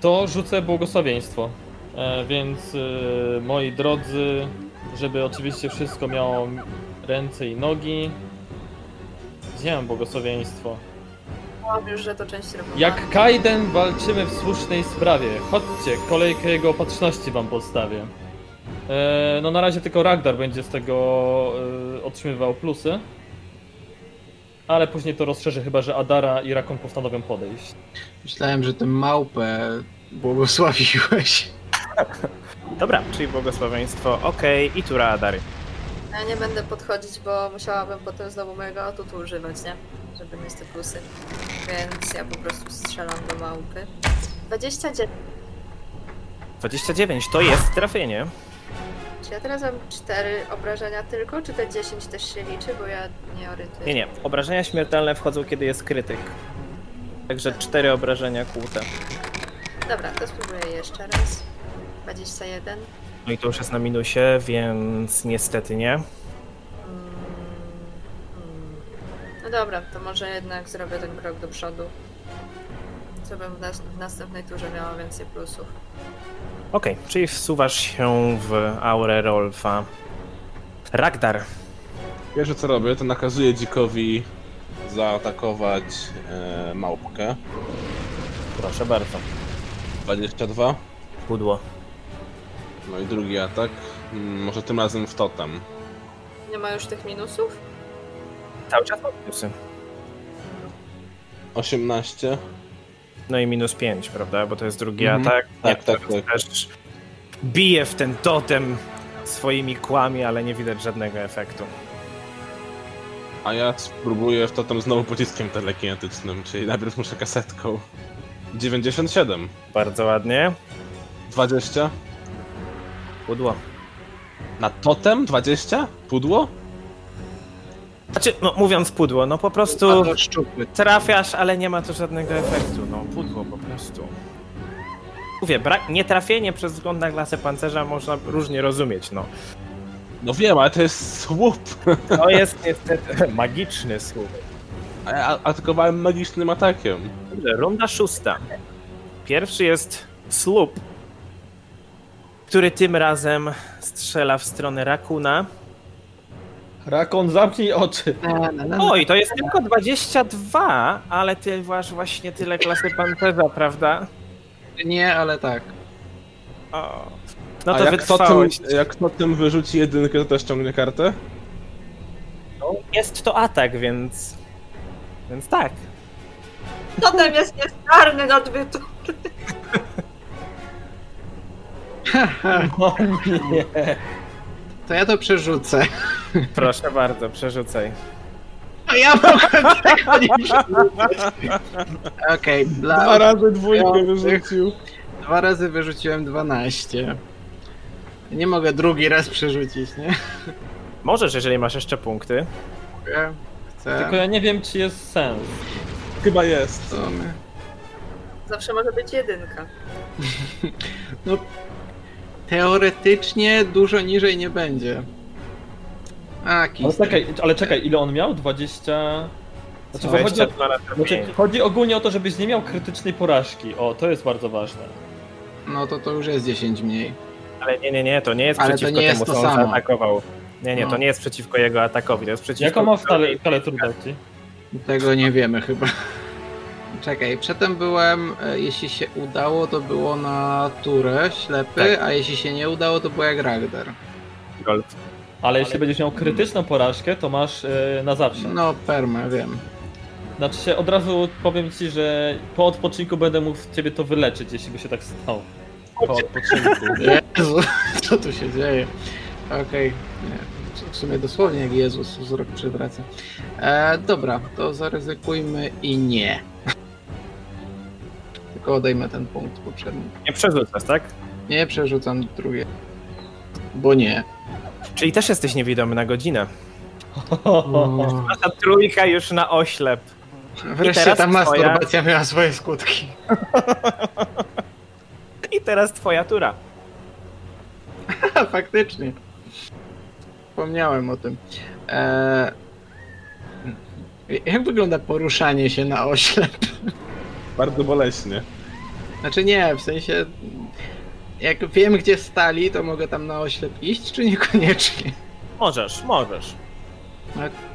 Speaker 1: To rzucę błogosławieństwo. E, więc y, moi drodzy, żeby oczywiście wszystko miało ręce i nogi. Gdzie mam błogosławieństwo?
Speaker 4: Mam już, że to część robiła.
Speaker 1: Jak Kaiden walczymy w słusznej sprawie. Chodźcie, kolejkę jego opatrzności wam postawię. E, no na razie tylko Ragdar będzie z tego e, otrzymywał plusy. Ale później to rozszerzy, chyba że Adara i Rakon postanowią podejść.
Speaker 2: Myślałem, że tę małpę błogosławiłeś.
Speaker 3: Dobra, czyli błogosławieństwo, okej, i tura Adary.
Speaker 4: No Ja nie będę podchodzić, bo musiałabym potem znowu mojego atutu używać, nie? Żeby mieć te plusy. Więc ja po prostu strzelam do małpy. 29.
Speaker 3: 29 to jest trafienie.
Speaker 4: Czy ja teraz mam 4 obrażenia tylko, czy te 10 też się liczy, bo ja nie orientuję.
Speaker 3: Nie, nie, obrażenia śmiertelne wchodzą kiedy jest krytyk. Także cztery obrażenia kłute.
Speaker 4: Dobra, to spróbuję jeszcze raz. 21.
Speaker 3: No i to już jest na minusie, więc niestety nie.
Speaker 4: Mm, mm. No dobra, to może jednak zrobię ten krok do przodu. Co bym w, nas- w następnej turze miała więcej plusów.
Speaker 3: Okej, czyli wsuwasz się w aurę Rolfa. Ragdar,
Speaker 5: Pierwsze co robię, to nakazuję dzikowi zaatakować e, małpkę.
Speaker 3: proszę bardzo.
Speaker 5: 22.
Speaker 3: Pudło.
Speaker 5: No i drugi atak. Mm, Może tym razem w totem.
Speaker 4: Nie ma już tych minusów?
Speaker 3: Cały czas mam plusy.
Speaker 5: 18.
Speaker 3: No i minus 5, prawda? Bo to jest drugi
Speaker 5: Mhm.
Speaker 3: atak.
Speaker 5: Tak,
Speaker 3: Jak
Speaker 5: tak,
Speaker 3: teraz Też bije w ten totem swoimi kłami, ale nie widać żadnego efektu.
Speaker 5: A ja spróbuję w totem znowu pociskiem telekinetycznym, czyli najpierw muszę kasetką. 97.
Speaker 3: Bardzo ładnie.
Speaker 5: 20.
Speaker 3: Pudło.
Speaker 5: Na totem 20? Pudło?
Speaker 3: Znaczy, no mówiąc pudło, no po prostu
Speaker 2: Padło szczupły.
Speaker 3: trafiasz, ale nie ma to żadnego efektu. No pudło po prostu. Mówię, brak, nietrafienie przez wzgląd na klasę pancerza można różnie rozumieć, no.
Speaker 5: No wiem, ale to jest słup.
Speaker 3: To jest niestety magiczny słup.
Speaker 5: A ja atakowałem magicznym atakiem.
Speaker 3: Dobrze, runda szósta. Pierwszy jest słup, który tym razem strzela w stronę rakuna.
Speaker 1: Rakon, zamknij oczy!
Speaker 2: Na, na, na,
Speaker 3: Oj, to jest tylko 22, ale ty masz właśnie tyle klasy pancerza, prawda?
Speaker 2: Nie, ale tak.
Speaker 3: O. No
Speaker 5: A
Speaker 3: to
Speaker 5: jak totem,
Speaker 3: wytrwałość.
Speaker 5: jak totem wyrzuci jedynkę, to też ciągnie kartę?
Speaker 3: No, Jest to atak, więc... Więc tak.
Speaker 4: Totem jest niezdarny do odbytu.
Speaker 1: O nie!
Speaker 2: To ja to przerzucę.
Speaker 3: Proszę bardzo, przerzucaj.
Speaker 2: A ja mogę tego nie przerzucać. Okej,
Speaker 5: Dwa
Speaker 2: dla
Speaker 5: razy dwójkę
Speaker 2: Ja-
Speaker 5: wyrzucił.
Speaker 2: dwa razy wyrzuciłem 12. Nie mogę drugi raz przerzucić, nie?
Speaker 3: Możesz, jeżeli masz jeszcze punkty.
Speaker 2: Mogę, Chcę.
Speaker 1: Tylko ja nie wiem, czy jest sens.
Speaker 5: Chyba jest.
Speaker 2: Co my-
Speaker 4: Zawsze może być jedynka.
Speaker 2: Teoretycznie dużo niżej nie będzie. A, kij.
Speaker 1: Ale tak- czekaj, ale czekaj, ile on miał? 20... Znaczy, bo chodzi, o,
Speaker 3: 22 na trafienie.
Speaker 1: znaczy, chodzi ogólnie o to, żebyś nie miał krytycznej porażki. O, to jest bardzo ważne.
Speaker 2: No to to już jest 10 mniej.
Speaker 3: Ale nie, nie, nie, to nie jest
Speaker 2: Ale to
Speaker 3: przeciwko
Speaker 2: nie jest
Speaker 3: temu,
Speaker 2: to
Speaker 3: co on
Speaker 2: samo.
Speaker 3: zaatakował. Nie, nie, to
Speaker 2: No.
Speaker 3: nie jest przeciwko jego atakowi, to jest przeciwko...
Speaker 1: Jaką ma skalę, skalę trudności?
Speaker 2: Tego nie wiemy chyba. Czekaj, przedtem byłem, e, jeśli się udało, to było na turę ślepy, a jeśli się nie udało, to było jak Ragdar.
Speaker 1: Ale jeśli będziesz miał krytyczną porażkę, to masz e, na zawsze.
Speaker 2: No, perma, wiem.
Speaker 1: Znaczy się od razu powiem ci, że po odpoczynku będę mógł ciebie to wyleczyć, jeśli by się tak stało.
Speaker 5: Po odpoczynku.
Speaker 2: Jezu, co tu się dzieje? Okej, nie, w sumie dosłownie jak Jezus wzrok przywraca. E, dobra, to zaryzykujmy i nie. tylko odejmę ten punkt poprzedni.
Speaker 3: Nie przerzucasz, tak?
Speaker 2: Nie przerzucam drugie. Bo nie.
Speaker 3: Czyli też jesteś niewidomy na godzinę. Ta trójka już na oślep.
Speaker 2: Wreszcie
Speaker 3: teraz
Speaker 2: ta
Speaker 3: twoja-
Speaker 2: masturbacja miała swoje skutki.
Speaker 3: I teraz twoja tura.
Speaker 2: Ha, Faktycznie. Wspomniałem o tym. Eee... Jak wygląda poruszanie się na ośle?
Speaker 5: Bardzo boleśnie.
Speaker 2: Znaczy nie, w sensie... Jak wiem, gdzie stali, to mogę tam na oślep iść, czy niekoniecznie?
Speaker 3: Możesz, możesz.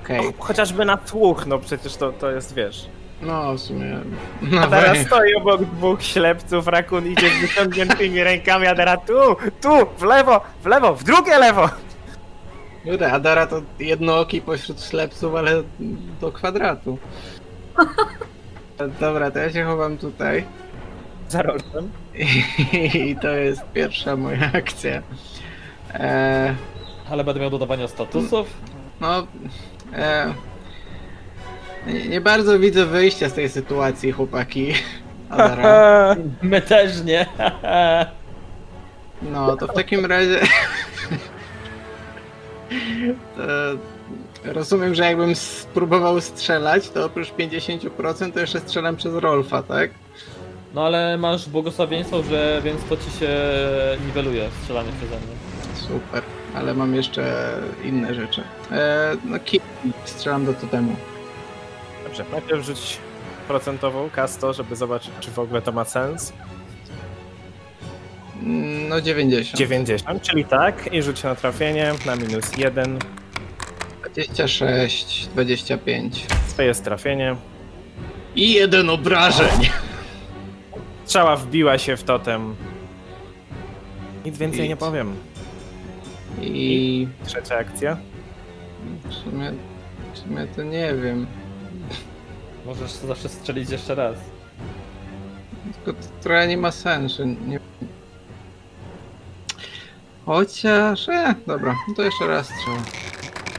Speaker 2: Okej,
Speaker 3: Cho- Chociażby na tłuch, no przecież to, to jest, wiesz.
Speaker 2: no w sumie... No
Speaker 3: A teraz
Speaker 2: wej-
Speaker 3: stoi obok dwóch ślepców, rakun idzie z wyciągniętymi rękami, a teraz tu, tu, w lewo, w lewo, w drugie lewo.
Speaker 2: Kurde, Adara to jednooki pośród ślepców, ale do kwadratu. Dobra, to ja się chowam tutaj.
Speaker 3: Za rożem.
Speaker 2: I to jest pierwsza moja akcja. Eee,
Speaker 1: Ale będę miał dodawania statusów.
Speaker 2: no. E, nie, nie bardzo widzę wyjścia z tej sytuacji, chłopaki. Adara.
Speaker 1: My też nie.
Speaker 2: No, to w takim razie. to, rozumiem, że jakbym spróbował strzelać, to oprócz 50% to jeszcze strzelam przez Rolfa, tak?
Speaker 1: No ale masz błogosławieństwo, że więc to ci się niweluje strzelanie przeze mnie.
Speaker 2: Super, ale mam jeszcze inne rzeczy. E, no, ki- strzelam do totemu.
Speaker 3: Dobrze, najpierw rzuć procentową kasto, żeby zobaczyć, czy w ogóle to ma sens.
Speaker 2: Mm, No, 90.
Speaker 3: 90, czyli tak, i rzuć na trafienie, na minus jeden.
Speaker 2: 26, 25.
Speaker 3: To jest trafienie.
Speaker 2: I jeden obrażeń!
Speaker 3: Strzała wbiła się w totem. Nic więcej
Speaker 2: Nic.
Speaker 3: nie powiem.
Speaker 2: I
Speaker 3: Trzecia akcja.
Speaker 2: w sumie, w sumie to nie wiem.
Speaker 1: Możesz zawsze strzelić jeszcze raz.
Speaker 2: Tylko to trochę nie ma sensu. Nie... Chociaż. E, dobra, no to jeszcze raz trzeba.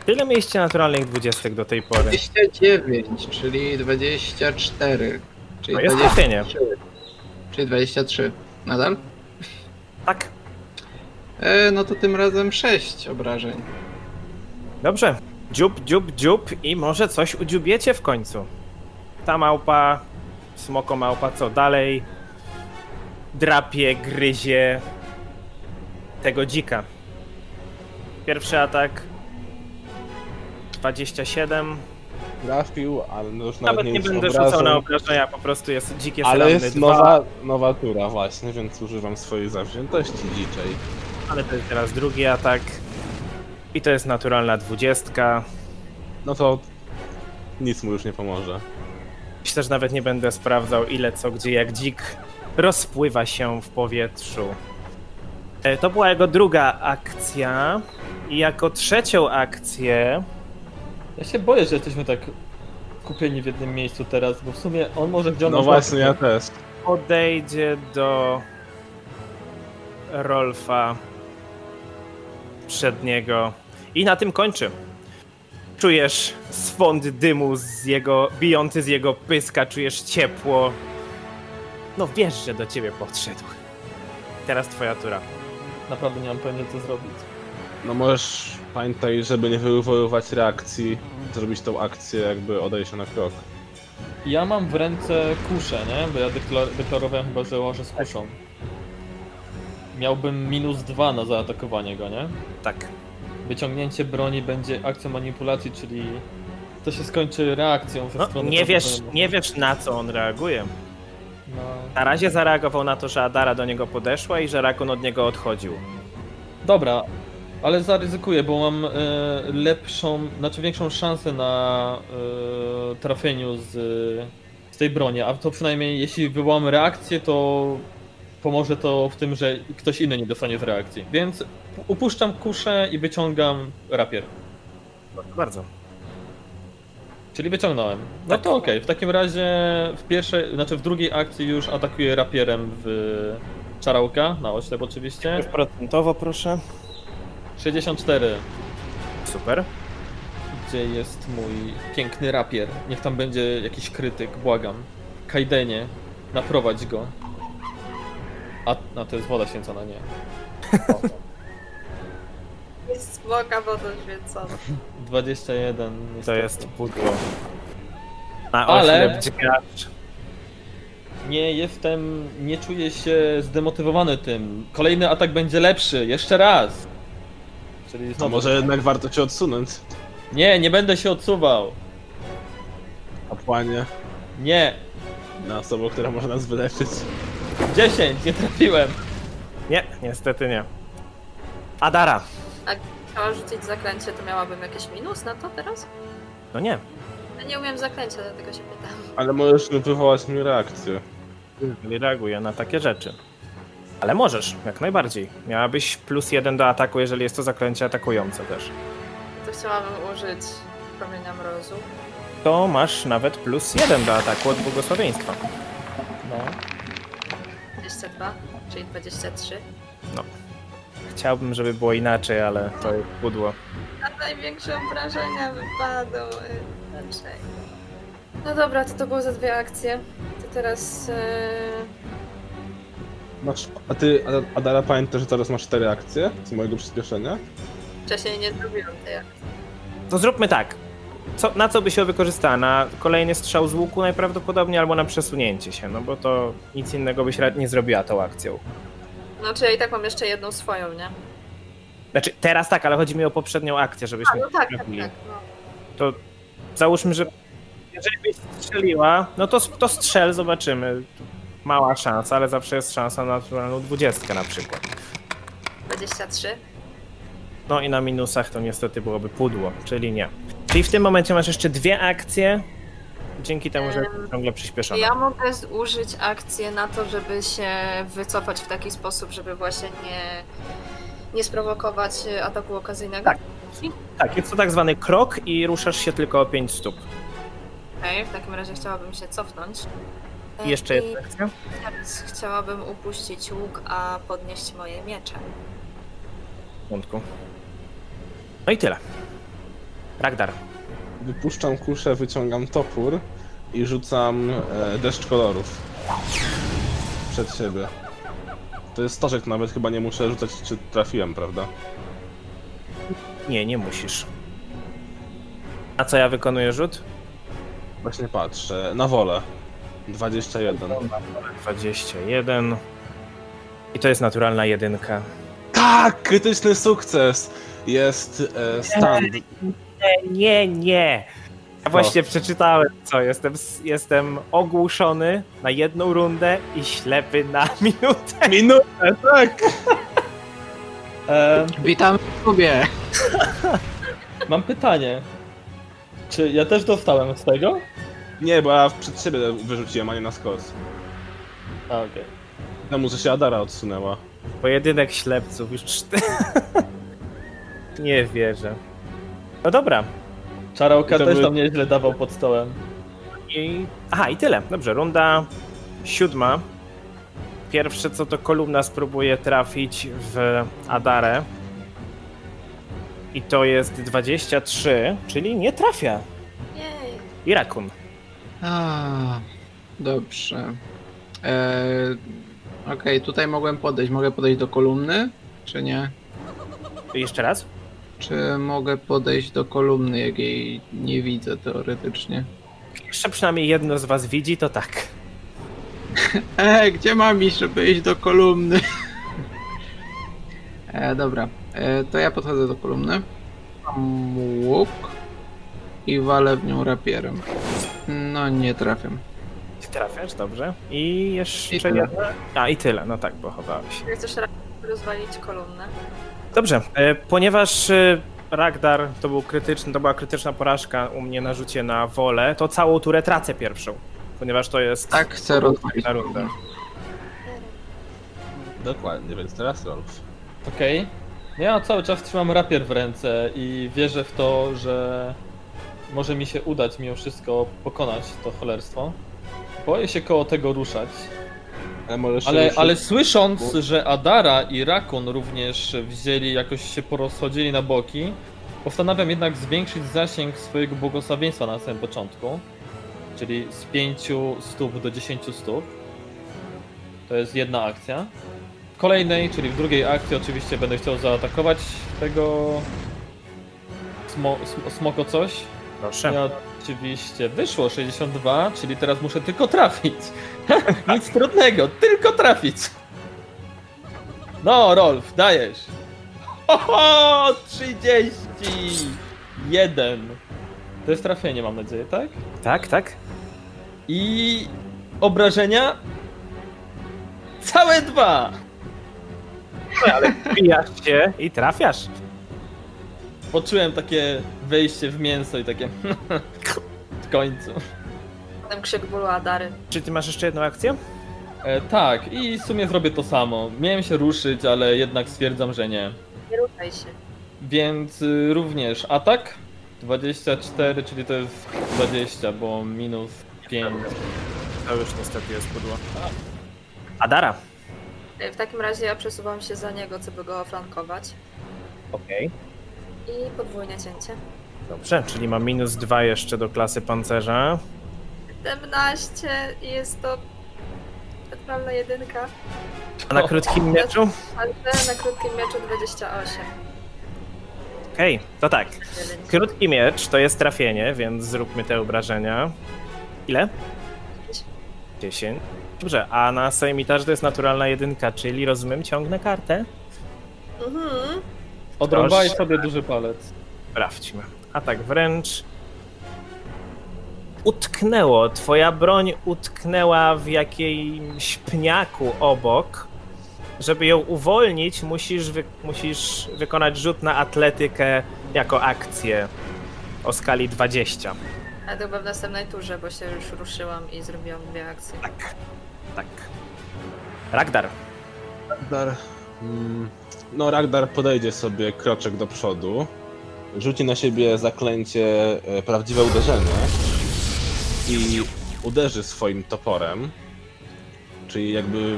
Speaker 3: Tyle mieście naturalnych 20 do tej pory.
Speaker 2: 29, czyli 24. Czyli
Speaker 3: To No jest trafienie.
Speaker 2: 23. Czyli 23. Nadal?
Speaker 3: Tak.
Speaker 2: E, no to tym razem 6 obrażeń.
Speaker 3: Dobrze. Dziób, dziób, dziób i może coś udziubiecie w końcu. Ta małpa, smoko małpa, co dalej? Drapie, gryzie tego dzika. Pierwszy atak 27.
Speaker 5: Trafił, ale no już nawet,
Speaker 3: Nawet
Speaker 5: nie,
Speaker 3: nie
Speaker 5: jest
Speaker 3: będę
Speaker 5: obrażeń,
Speaker 3: rzucał na obrażenia, po prostu jest dzik jest
Speaker 5: Ale
Speaker 3: ranny
Speaker 5: jest
Speaker 3: dwa,
Speaker 5: nowa, nowa tura właśnie, więc używam swojej zawziętości dziczej.
Speaker 3: ale to jest teraz drugi atak. I to jest naturalna 20.
Speaker 5: No to nic mu już nie pomoże.
Speaker 3: Już też nawet nie będę sprawdzał ile, co, gdzie, jak dzik rozpływa się w powietrzu. E, To była jego druga akcja. I jako trzecią akcję
Speaker 1: Ja się boję, że jesteśmy tak kupieni w jednym miejscu teraz, bo w sumie on może gdzie on
Speaker 5: No właśnie, ja też.
Speaker 3: podejdzie do Rolfa przedniego. I na tym kończy. Czujesz swąd dymu z jego, bijący z jego pyska, czujesz ciepło. No wiesz, że do ciebie podszedł. Teraz twoja tura.
Speaker 1: Naprawdę nie mam pojęcia co zrobić.
Speaker 5: No możesz pamiętaj, żeby nie wywoływać reakcji, zrobić tą akcję jakby odejścia na krok.
Speaker 1: Ja mam w ręce kuszę, nie? Bo ja deklar- deklarowałem chyba, że łożę z kuszą. Miałbym minus dwa na zaatakowanie go, nie?
Speaker 3: Tak.
Speaker 1: Wyciągnięcie broni będzie akcją manipulacji, czyli to się skończy reakcją ze
Speaker 3: No,
Speaker 1: strony...
Speaker 3: nie, wiesz,
Speaker 1: pozostałego.
Speaker 3: nie wiesz na co on reaguje.
Speaker 1: No.
Speaker 3: Na razie zareagował na to, że Adara do niego podeszła i że Rakun od niego odchodził.
Speaker 1: Dobra, ale zaryzykuję, bo mam e, lepszą, znaczy większą szansę na e, trafieniu z, z tej broni, a to przynajmniej jeśli wywołam reakcję, to pomoże to w tym, że ktoś inny nie dostanie z reakcji. Więc upuszczam kuszę i wyciągam rapier.
Speaker 3: Proszę bardzo.
Speaker 1: Czyli wyciągnąłem. No
Speaker 3: Tak.
Speaker 1: to okej, w takim razie w pierwszej, znaczy w drugiej akcji już atakuję rapierem w czarałka, na oślep oczywiście.
Speaker 3: Procentowo proszę.
Speaker 1: 64.
Speaker 3: Super.
Speaker 1: Gdzie jest mój piękny rapier? Niech tam będzie jakiś krytyk, błagam. Kaidenie, naprowadź go. A, no to jest woda święcona, nie.
Speaker 4: Jest smoka wodą święcona.
Speaker 1: 21.
Speaker 3: To
Speaker 1: niestety.
Speaker 3: jest pudło. Na
Speaker 1: Ale-
Speaker 3: oślep dźgacz.
Speaker 1: Nie jestem, nie czuję się zdemotywowany tym. Kolejny atak będzie lepszy, jeszcze raz. Czyli
Speaker 5: A
Speaker 1: znowu.
Speaker 5: No może jednak warto się odsunąć,
Speaker 1: Nie, nie będę się odsuwał.
Speaker 5: kapłanie,
Speaker 1: Nie.
Speaker 5: na osobę, która może nas wyleczyć.
Speaker 1: 10, nie trafiłem.
Speaker 3: Nie, niestety nie. Adara.
Speaker 4: Chciała rzucić zaklęcie, to miałabym jakiś minus na to teraz?
Speaker 3: No nie.
Speaker 4: Ja nie umiem zaklęcia, dlatego się pytam.
Speaker 5: Ale możesz wywołać mi reakcję.
Speaker 3: Nie reaguje na takie rzeczy. Ale możesz, jak najbardziej. Miałabyś plus jeden do ataku, jeżeli jest to zaklęcie atakujące też.
Speaker 4: To chciałabym użyć promienia mrozu.
Speaker 3: To masz nawet plus jeden do ataku od błogosławieństwa.
Speaker 1: No.
Speaker 4: 22, czyli 23.
Speaker 3: Chciałbym, żeby było inaczej, ale to jest pudło.
Speaker 4: A największe obrażenia wypadły. Raczej. No dobra, to to było za dwie akcje. To teraz... Yy...
Speaker 5: Masz, a ty, Ada- Adara, pamiętasz, że teraz masz cztery akcje z mojego przyspieszenia?
Speaker 4: Wcześniej nie zrobiłam tej akcji.
Speaker 3: To zróbmy tak. Co, na co by się wykorzystała? Na kolejny strzał z łuku najprawdopodobniej, albo na przesunięcie się, no bo to nic innego byś ra- nie zrobiła tą akcją.
Speaker 4: No, czy ja i tak mam jeszcze jedną swoją, nie?
Speaker 3: Znaczy teraz tak, ale chodzi mi o poprzednią akcję,
Speaker 4: A,
Speaker 3: żebyśmy
Speaker 4: no tak, tak,
Speaker 3: trafili.
Speaker 4: tak. No.
Speaker 3: To załóżmy, że jeżeli byś strzeliła, no to, to strzel, zobaczymy. Mała szansa, ale zawsze jest szansa na naturalną dwudziestkę na przykład.
Speaker 4: 23.
Speaker 3: No i na minusach to niestety byłoby pudło, czyli nie. Czyli w tym momencie masz jeszcze dwie akcje, dzięki temu, że jest ciągle przyspieszona.
Speaker 4: Ja mogę zużyć akcję na to, żeby się wycofać w taki sposób, żeby właśnie nie, nie sprowokować e, ataku okazyjnego.
Speaker 3: Tak. Tak, jest to tak zwany krok i ruszasz się tylko o 5 stóp.
Speaker 4: Okej, w takim razie chciałabym się cofnąć. E,
Speaker 3: I jeszcze
Speaker 4: I
Speaker 3: jedna akcja.
Speaker 4: teraz chciałabym upuścić łuk, a podnieść moje miecze.
Speaker 3: W porządku. No i tyle. Ragdar.
Speaker 5: Wypuszczam kuszę, wyciągam topór i rzucam e, deszcz kolorów przed siebie. To jest stożek, nawet chyba nie muszę rzucać, czy trafiłem, prawda?
Speaker 3: Nie, nie musisz. A co ja wykonuję rzut?
Speaker 5: Właśnie patrzę, na wolę. 21.
Speaker 3: 21. I to jest naturalna jedynka.
Speaker 5: Tak, krytyczny sukces! Jest e, stan.
Speaker 3: Nie, nie, nie. Ja właśnie przeczytałem co, jestem, s- jestem ogłuszony na jedną rundę i ślepy na minutę.
Speaker 5: Minutę, tak!
Speaker 1: Em,
Speaker 2: Witam w klubie.
Speaker 1: mam pytanie. Czy ja też dostałem z tego?
Speaker 5: Nie, bo ja przed siebie wyrzuciłem, a nie na skos.
Speaker 1: A, okej.
Speaker 5: Temu, że się Adara odsunęła.
Speaker 3: Pojedynek ślepców, już cztery. nie wierzę. No dobra.
Speaker 1: Czarałka
Speaker 5: I to
Speaker 1: też
Speaker 5: były-
Speaker 1: tam nieźle dawał pod stołem.
Speaker 3: I... Aha, i tyle. Dobrze, runda siódma. Pierwsze co to kolumna spróbuje trafić w Adarę. I to jest 23, czyli nie trafia.
Speaker 4: Jej.
Speaker 3: I Rakun.
Speaker 2: A, dobrze. E, Okej, tutaj mogłem podejść. Mogę podejść do kolumny, czy nie?
Speaker 3: Jeszcze raz?
Speaker 2: Czy mogę podejść do kolumny, jak jej nie widzę teoretycznie?
Speaker 3: Jeszcze przynajmniej jedno z was widzi, to tak.
Speaker 2: E, gdzie mam iść, żeby iść do kolumny? E, dobra, e, to ja podchodzę do kolumny. Mam łuk i walę w nią rapierem. No nie trafiam.
Speaker 3: Ty Trafiasz, dobrze. I jeszcze
Speaker 2: I tyle.
Speaker 3: jedno. A i tyle, no tak, bo chowałeś.
Speaker 4: Jak chcesz raz rozwalić kolumnę?
Speaker 3: Dobrze, e, ponieważ e, Ragdar to był krytyczny, to była krytyczna porażka u mnie na rzucie na wolę, to całą turę tracę pierwszą. Ponieważ to jest.
Speaker 2: Tak chcę rozwalić.
Speaker 3: Na rundę.
Speaker 5: Dokładnie, więc teraz Rolf.
Speaker 1: Okej. No Ja cały czas trzymam rapier w ręce i wierzę w to, że może mi się udać mimo wszystko pokonać to cholerstwo. Boję się koło tego ruszać,
Speaker 5: Ale możesz
Speaker 1: ale,
Speaker 5: ruszyć-
Speaker 1: ale słysząc, że Adara i Rakun również wzięli, jakoś się porozchodzili na boki, postanawiam jednak zwiększyć zasięg swojego błogosławieństwa na samym początku, czyli z 5 stóp do 10 stóp. To jest jedna akcja. kolejnej, czyli w drugiej akcji oczywiście będę chciał zaatakować tego smo, sm, smoko coś.
Speaker 3: Proszę.
Speaker 1: Ja oczywiście wyszło 62, czyli teraz muszę tylko trafić. Nic trudnego, tylko trafić. No, Rolf, dajesz. Oho, 31. To jest trafienie, mam nadzieję, tak?
Speaker 3: Tak, tak?
Speaker 1: I obrażenia? Całe dwa!
Speaker 3: Wbijasz się i trafiasz.
Speaker 1: Poczułem takie wejście w mięso i takie. w końcu.
Speaker 4: Potem krzyk bólu Adary.
Speaker 3: Czy ty masz jeszcze jedną akcję?
Speaker 1: E, tak, i w sumie zrobię to samo. Miałem się ruszyć, ale jednak stwierdzam, że nie.
Speaker 4: Nie ruszaj się.
Speaker 1: Więc y, również atak 24, czyli to jest 20, bo minus 5.
Speaker 3: To już niestety jest pudło. Adara.
Speaker 4: E, W takim razie ja przesuwam się za niego, co by go oflankować.
Speaker 3: Okej.
Speaker 4: I podwójne cięcie.
Speaker 3: Dobrze, czyli ma minus dwa jeszcze do klasy pancerza.
Speaker 4: 17 i jest to naturalna jedynka,
Speaker 3: A na
Speaker 1: O.
Speaker 3: krótkim mieczu?
Speaker 4: ale na krótkim mieczu 28.
Speaker 3: Okej, to tak.
Speaker 4: Jeden.
Speaker 3: Krótki miecz to jest trafienie, więc zróbmy te obrażenia. Ile? 10. Dobrze, a na sejmitarz to jest naturalna jedynka, czyli rozumiem, ciągnę kartę.
Speaker 4: Mhm.
Speaker 1: Odrąbałeś
Speaker 3: Proszę.
Speaker 1: sobie duży palec.
Speaker 3: Sprawdźmy. Atak wręcz. Utknęło. Twoja broń utknęła w jakimś pniaku obok. Żeby ją uwolnić, musisz, wy- musisz wykonać rzut na atletykę jako akcję o skali 20.
Speaker 4: Ale to chyba w następnej turze, bo się już ruszyłam i zrobiłam dwie akcje.
Speaker 3: Tak. Ragdar.
Speaker 5: Ragdar. mm, No, Ragdar podejdzie sobie kroczek do przodu. Rzuci na siebie zaklęcie e, prawdziwe uderzenie. I uderzy swoim toporem. Czyli jakby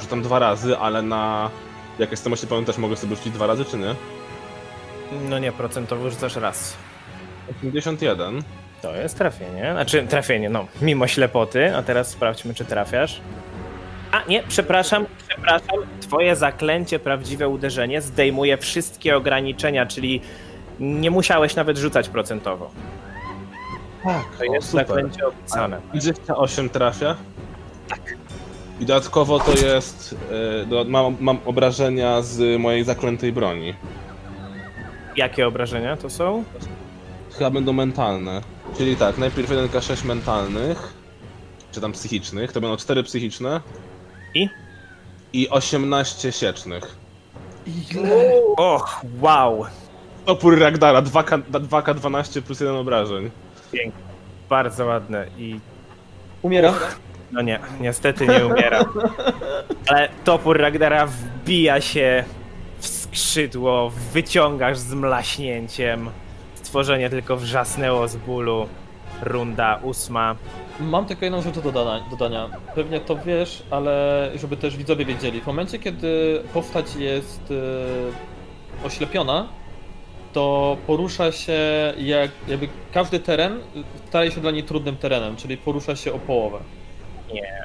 Speaker 5: rzucam dwa razy, ale na. Jak jestem oślepiony, też mogę sobie rzucić dwa razy, czy nie?
Speaker 3: No nie, procentowo rzucasz raz.
Speaker 5: 81.
Speaker 3: To jest trafienie. Znaczy, trafienie, no, mimo ślepoty. A teraz sprawdźmy, czy trafiasz. A nie, przepraszam, przepraszam. Twoje zaklęcie, prawdziwe uderzenie zdejmuje wszystkie ograniczenia, czyli nie musiałeś nawet rzucać procentowo.
Speaker 5: Tak,
Speaker 3: To jest zaklęcie opisane.
Speaker 5: 28 trafia. Tak. I dodatkowo to jest. e, do- Mam, mam obrażenia z mojej zaklętej broni.
Speaker 3: Jakie obrażenia to są?
Speaker 5: Chyba będą mentalne. Czyli tak, najpierw 1k6 mentalnych, czy tam psychicznych, to będą 4 psychiczne.
Speaker 3: I?
Speaker 5: I 18 siecznych.
Speaker 3: Och, wow.
Speaker 5: Opór Ragdara, 2K, 2K12 plus 1 obrażeń.
Speaker 3: Bardzo ładne i
Speaker 1: Umieram.
Speaker 3: No nie, niestety nie umiera. Ale topór Ragdara wbija się w skrzydło, wyciągasz z mlaśnięciem. Stworzenie tylko wrzasnęło z bólu. Runda ósma.
Speaker 1: Mam tylko jedną rzecz do dodania, dodania. Pewnie to wiesz, ale żeby też widzowie wiedzieli. W momencie, kiedy postać jest e, oślepiona, to porusza się jak, jakby każdy teren staje się dla niej trudnym terenem, czyli porusza się o połowę.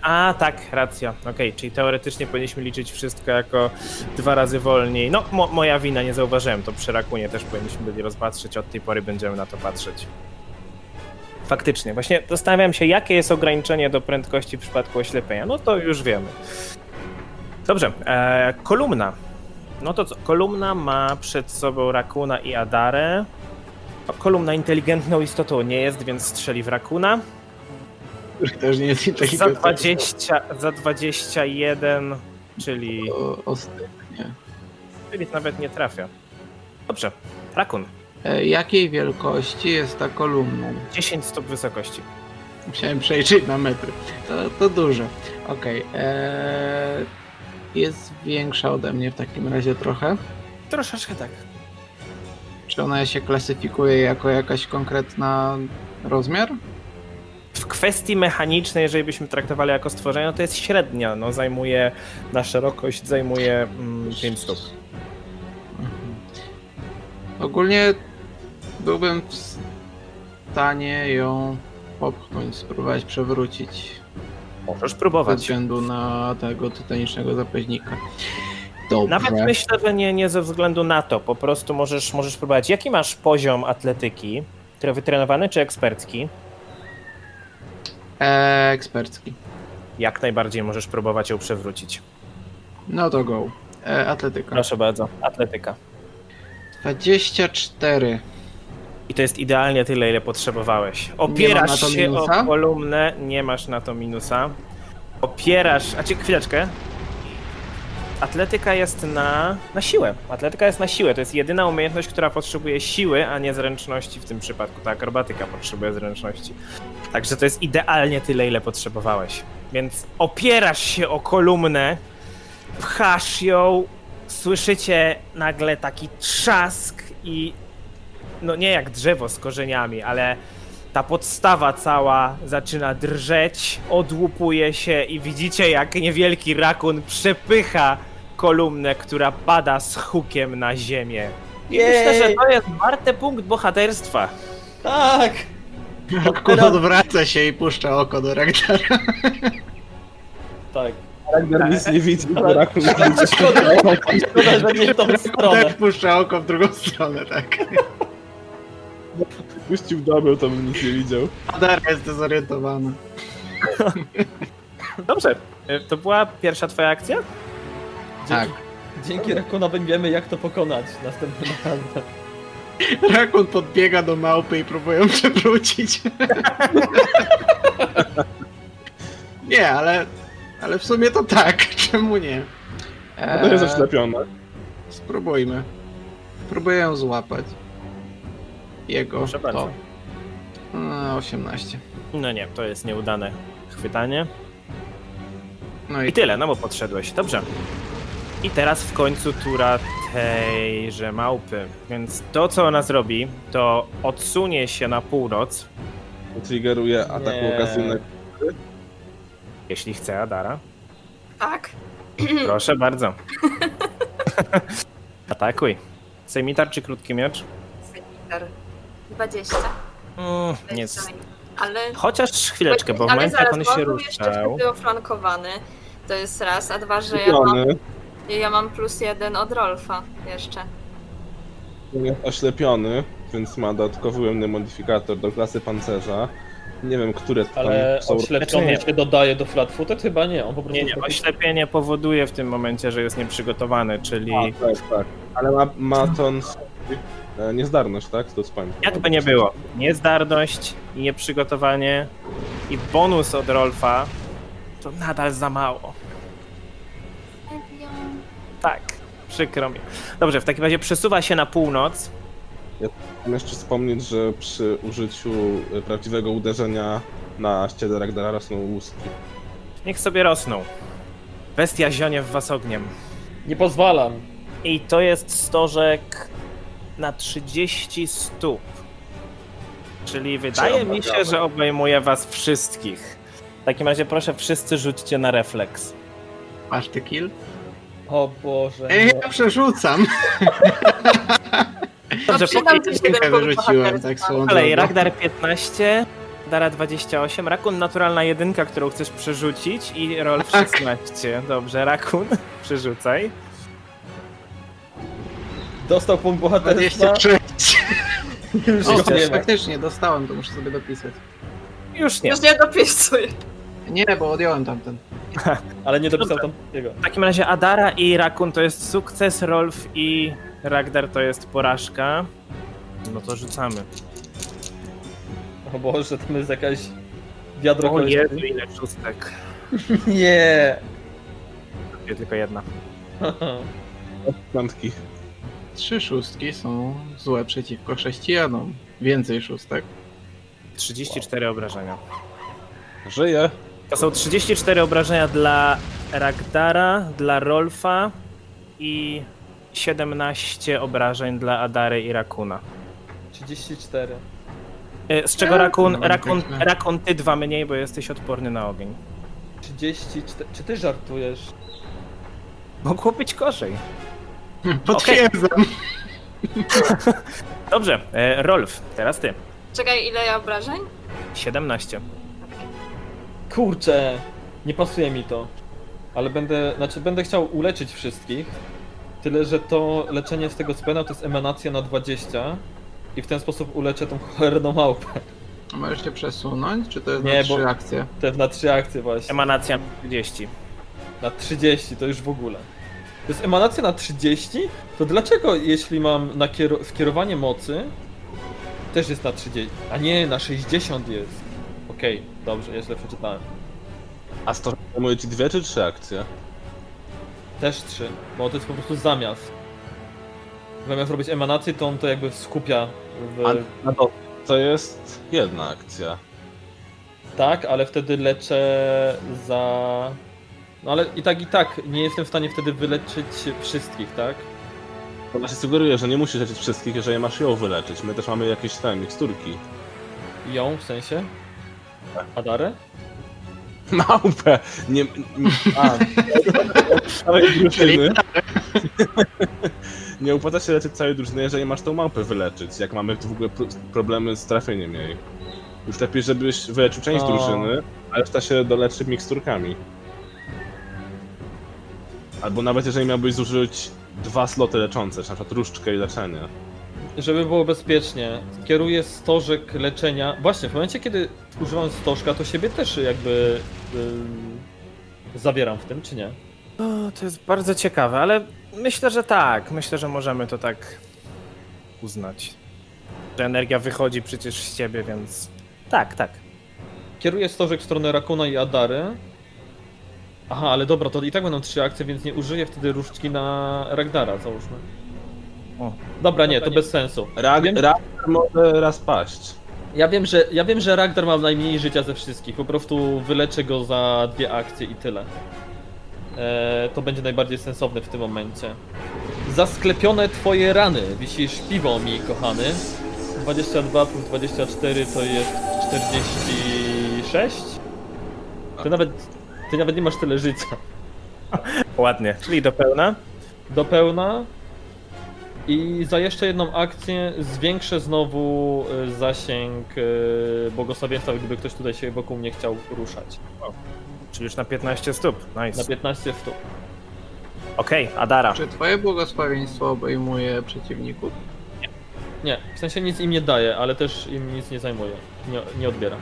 Speaker 3: A tak, racja. Okej, czyli teoretycznie powinniśmy liczyć wszystko jako dwa razy wolniej. No, mo- moja wina, nie zauważyłem to przy rakunie, też powinniśmy byli rozpatrzeć. Od tej pory będziemy na to patrzeć. Faktycznie, właśnie zastanawiam się, jakie jest ograniczenie do prędkości w przypadku oślepienia. No to już wiemy. Dobrze, e, kolumna. No to co? Kolumna ma przed sobą rakuna i adarę. O, Kolumna inteligentną istotą nie jest, więc strzeli w rakuna.
Speaker 2: Też nie jest
Speaker 3: Za
Speaker 2: inteligentny.
Speaker 3: 20, za 21, czyli,
Speaker 2: O- Ostatnie.
Speaker 3: czyli nawet nie trafia. Dobrze, rakun.
Speaker 2: E, Jakiej wielkości jest ta kolumna?
Speaker 3: 10 stóp wysokości.
Speaker 2: Musiałem przejrzeć na metry. To, to duże. Okej. eee, Jest większa ode mnie w takim razie trochę.
Speaker 3: Troszeczkę tak.
Speaker 2: Czy ona się klasyfikuje jako jakaś konkretna rozmiar?
Speaker 3: W kwestii mechanicznej, jeżeli byśmy traktowali jako stworzenie, no to jest średnia. No, zajmuje, na szerokość zajmuje mm, 5 stóp.
Speaker 2: Mhm. Ogólnie byłbym w stanie ją popchnąć, spróbować przewrócić.
Speaker 3: Możesz
Speaker 2: ze
Speaker 3: próbować.
Speaker 2: względu na tego tytanicznego zapaźnika. Dobra.
Speaker 3: Nawet myślę, że nie, nie ze względu na to. Po prostu możesz, możesz próbować. Jaki masz poziom atletyki? Tre- Wytrenowany czy ekspercki?
Speaker 2: E, ekspercki.
Speaker 3: Jak najbardziej możesz próbować ją przewrócić.
Speaker 2: No to go. E, atletyka.
Speaker 3: Proszę bardzo, atletyka.
Speaker 2: 24.
Speaker 3: I to jest idealnie tyle, ile potrzebowałeś.
Speaker 2: Nie mam
Speaker 3: Opierasz
Speaker 2: na to
Speaker 3: się
Speaker 2: minusa?
Speaker 3: o kolumnę, nie masz na to minusa. Opierasz. A cię chwileczkę. Atletyka jest na, na siłę. Atletyka jest na siłę. To jest jedyna umiejętność, która potrzebuje siły, a nie zręczności w tym przypadku. Ta akrobatyka potrzebuje zręczności. Także to jest idealnie tyle, ile potrzebowałeś. Więc opierasz się o kolumnę, pchasz ją, słyszycie nagle taki trzask i no nie jak drzewo z korzeniami, ale ta podstawa cała zaczyna drżeć, odłupuje się i widzicie jak niewielki rakun przepycha kolumnę, która pada z hukiem na ziemię. I myślę, że to jest warte punkt bohaterstwa.
Speaker 1: Tak!
Speaker 2: Rakun odwraca się i puszcza oko do Ragdara.
Speaker 1: Tak.
Speaker 5: Ragnar nic nie widzi, bo Rakun
Speaker 1: Szkoda, szkoda, że nie w tą
Speaker 2: Też
Speaker 1: stronę.
Speaker 2: Tak, puszcza oko w drugą stronę, tak.
Speaker 5: puścił double, to bym nic nie widział.
Speaker 2: Adara jest dezorientowana.
Speaker 3: Dobrze, y, to była pierwsza twoja akcja?
Speaker 2: Tak.
Speaker 1: Dzięki, dzięki Rakunowi wiemy jak to pokonać następnym razem.
Speaker 2: Rakun podbiega do małpy i próbuje ją przewrócić. nie, ale, ale w sumie to tak. Czemu nie?
Speaker 5: No To jest
Speaker 2: Eee.
Speaker 5: zaślepione.
Speaker 2: Spróbujmy. Próbuję ją złapać. Jego.
Speaker 3: Proszę bardzo.
Speaker 2: To. E, 18.
Speaker 3: No nie, to jest nieudane chwytanie.
Speaker 2: No i
Speaker 3: I tyle, no bo podszedłeś. Dobrze. I teraz w końcu tura tejże małpy. Więc to, co ona zrobi, to odsunie się na północ,
Speaker 5: Triggeruje ataku
Speaker 1: Nie.
Speaker 5: okazyjnego.
Speaker 3: jeśli chce Adara.
Speaker 4: Tak.
Speaker 3: Proszę bardzo. Atakuj. Sejmitar czy krótki miecz?
Speaker 4: Sanitar. 20.
Speaker 3: Mm, nie.
Speaker 4: Ale.
Speaker 3: Chociaż chwileczkę, bo w
Speaker 4: ale
Speaker 3: momencie jak on
Speaker 4: zaraz, bo
Speaker 3: się
Speaker 4: on był jeszcze
Speaker 3: ruszał...
Speaker 4: wtedy oflankowany. To jest raz, a dwa, że ja mam,
Speaker 5: Oślepiony.
Speaker 4: ja mam plus jeden od Rolfa jeszcze.
Speaker 5: jest Oślepiony, więc ma dodatkowy ujemny modyfikator do klasy pancerza. Nie wiem, które tam
Speaker 1: Ale
Speaker 5: są.
Speaker 1: oślepiony się dodaje do flatfooted? Chyba nie, on po prostu...
Speaker 3: Nie, nie, oślepienie powoduje w tym momencie, że jest nieprzygotowany, czyli...
Speaker 5: A, tak, tak. Ale ma, ma ton. e, Niezdarność, tak? To spam.
Speaker 3: Jakby nie było, niezdarność i nieprzygotowanie i bonus od Rolfa to nadal za mało. Tak, przykro mi. Dobrze, w takim razie przesuwa się na północ.
Speaker 5: Chciałem jeszcze wspomnieć, że przy użyciu e, prawdziwego uderzenia na ścieżkę Ragdara rosną łuski.
Speaker 3: Niech sobie rosną. Bestia zionie w was ogniem.
Speaker 1: Nie pozwalam.
Speaker 3: I to jest stożek na 30 stóp. Czyli wydaje mi się, że obejmuje was wszystkich. W takim razie proszę wszyscy rzućcie na refleks.
Speaker 2: masz ty kill?
Speaker 1: O Boże.
Speaker 2: Ej,
Speaker 1: nie.
Speaker 2: ja przerzucam.
Speaker 3: Dobrze,
Speaker 4: No, przydam
Speaker 3: póki-
Speaker 4: się
Speaker 2: Jedynkę
Speaker 4: jeden punkt
Speaker 2: wyrzuciłem, tak
Speaker 4: bohaterstwa.
Speaker 2: swoją
Speaker 3: Dalej,
Speaker 2: drogą.
Speaker 3: Ragnar 15, Dara 28, Rakun naturalna jedynka, którą chcesz przerzucić i Rol
Speaker 2: Tak.
Speaker 3: 16. Dobrze, Rakun, przerzucaj.
Speaker 1: Dostał punkt bohaterstwa.
Speaker 2: 26.
Speaker 1: Już
Speaker 2: O,
Speaker 1: go nie ma.
Speaker 2: faktycznie, dostałem, to muszę sobie dopisać.
Speaker 3: Już nie.
Speaker 4: Już nie dopisuję.
Speaker 2: Nie, bo odjąłem tamten.
Speaker 1: Ale nie dopisał tam jego.
Speaker 3: W takim razie Adara i Rakun to jest sukces, Rolf i Ragnar to jest porażka. No to rzucamy.
Speaker 1: O Boże, tam jest jakaś wiadro
Speaker 3: O
Speaker 1: koleś-
Speaker 3: Jezu, ile szóstek.
Speaker 1: Nie.
Speaker 3: Nie tylko jedna.
Speaker 5: Piątki.
Speaker 2: Trzy szóstki są złe przeciwko chrześcijanom. Więcej szóstek.
Speaker 3: 34 obrażenia.
Speaker 5: Żyje.
Speaker 3: To są 34 obrażenia dla Ragdara, dla Rolfa i 17 obrażeń dla Adary i Rakuna.
Speaker 1: 34.
Speaker 3: E, Z czego Rakun,
Speaker 2: Dobra,
Speaker 3: Rakun,
Speaker 2: piękne.
Speaker 3: Rakun ty dwa mniej, bo jesteś odporny na ogień.
Speaker 1: 34. Czy ty żartujesz?
Speaker 3: Mogło być gorzej.
Speaker 2: Potwierdzam.
Speaker 3: Dobrze, e, Rolf, teraz ty.
Speaker 4: Czekaj, ile ja obrażeń?
Speaker 3: 17.
Speaker 1: Kurczę. Nie pasuje mi to. Ale będę, znaczy będę chciał uleczyć wszystkich. Tyle, że to leczenie z tego spena to jest emanacja na 20. I w ten sposób uleczę tą cholerną małpę.
Speaker 2: A Możesz się przesunąć, czy to jest
Speaker 1: Nie,
Speaker 2: na
Speaker 1: bo-
Speaker 2: trzy akcje?
Speaker 1: Te na 3 akcje właśnie.
Speaker 3: Emanacja 30.
Speaker 1: Na 30 to już w ogóle. To jest emanacja na 30? To dlaczego jeśli mam nakiero- skierowanie mocy też jest na 30? A nie, na 60 jest. Okej, dobrze, ja źle przeczytałem.
Speaker 5: A z to zajmuje ci dwie czy trzy akcje?
Speaker 1: Też 3, bo to jest po prostu zamiast. Zamiast robić emanację, to on to jakby skupia w...
Speaker 5: A, a to, to jest jedna akcja.
Speaker 1: Tak, ale wtedy leczę za... No ale i tak, i tak nie jestem w stanie wtedy wyleczyć wszystkich, tak?
Speaker 5: To właśnie sugeruje, że nie musisz leczyć wszystkich, jeżeli masz ją wyleczyć. My też mamy jakieś tam miksturki.
Speaker 1: Ją, w sensie? Adarę?
Speaker 5: Małpę! Nie, nie,
Speaker 1: A,
Speaker 5: całej drużyny. nie opłaca się leczyć całej drużyny, jeżeli masz tą małpę wyleczyć, jak mamy w ogóle pro- problemy z trafieniem jej. Już lepiej, żebyś wyleczył część
Speaker 1: O.
Speaker 5: drużyny, a reszta się doleczy miksturkami. Albo nawet jeżeli miałbyś zużyć dwa sloty leczące, czy na przykład różdżkę i leczenie.
Speaker 1: Żeby było bezpiecznie, kieruję stożek leczenia. Właśnie, w momencie, kiedy używam stożka, to siebie też jakby ym, y, zawieram w tym, czy nie?
Speaker 3: O, to jest bardzo ciekawe, ale myślę, że tak. Myślę, że możemy to tak uznać. Że energia wychodzi przecież z ciebie, więc tak, tak.
Speaker 1: Kieruję stożek w stronę Rakuna i Adary. Aha, ale dobra, to i tak będą trzy akcje, więc nie użyję wtedy różdżki na Ragdara, załóżmy.
Speaker 3: O.
Speaker 1: Dobra, nie, to
Speaker 3: Dobra, nie.
Speaker 1: bez sensu.
Speaker 5: Rag,
Speaker 1: Wiem.
Speaker 5: rag może raz paść.
Speaker 1: Ja wiem, że, ja wiem, że Ragdar ma najmniej życia ze wszystkich. Po prostu wyleczę go za dwie akcje i tyle. E, to będzie najbardziej sensowne w tym momencie. Zasklepione twoje rany. Wisisz piwo mi, kochany. 22 plus 24 to jest 46? Ty nawet, ty nawet nie masz tyle życia.
Speaker 3: Ładnie, czyli do pełna.
Speaker 1: Do pełna. I za jeszcze jedną akcję zwiększę znowu y, zasięg y, błogosławieństwa, gdyby ktoś tutaj się wokół mnie chciał ruszać.
Speaker 3: Czyli już na 15 stóp.
Speaker 1: Na
Speaker 3: Nice.
Speaker 1: 15 stóp.
Speaker 3: Okej, Adara.
Speaker 2: Czy twoje błogosławieństwo obejmuje przeciwników?
Speaker 1: Nie, w sensie nic im nie daje, ale też im nic nie zajmuje. Nie, nie odbiera.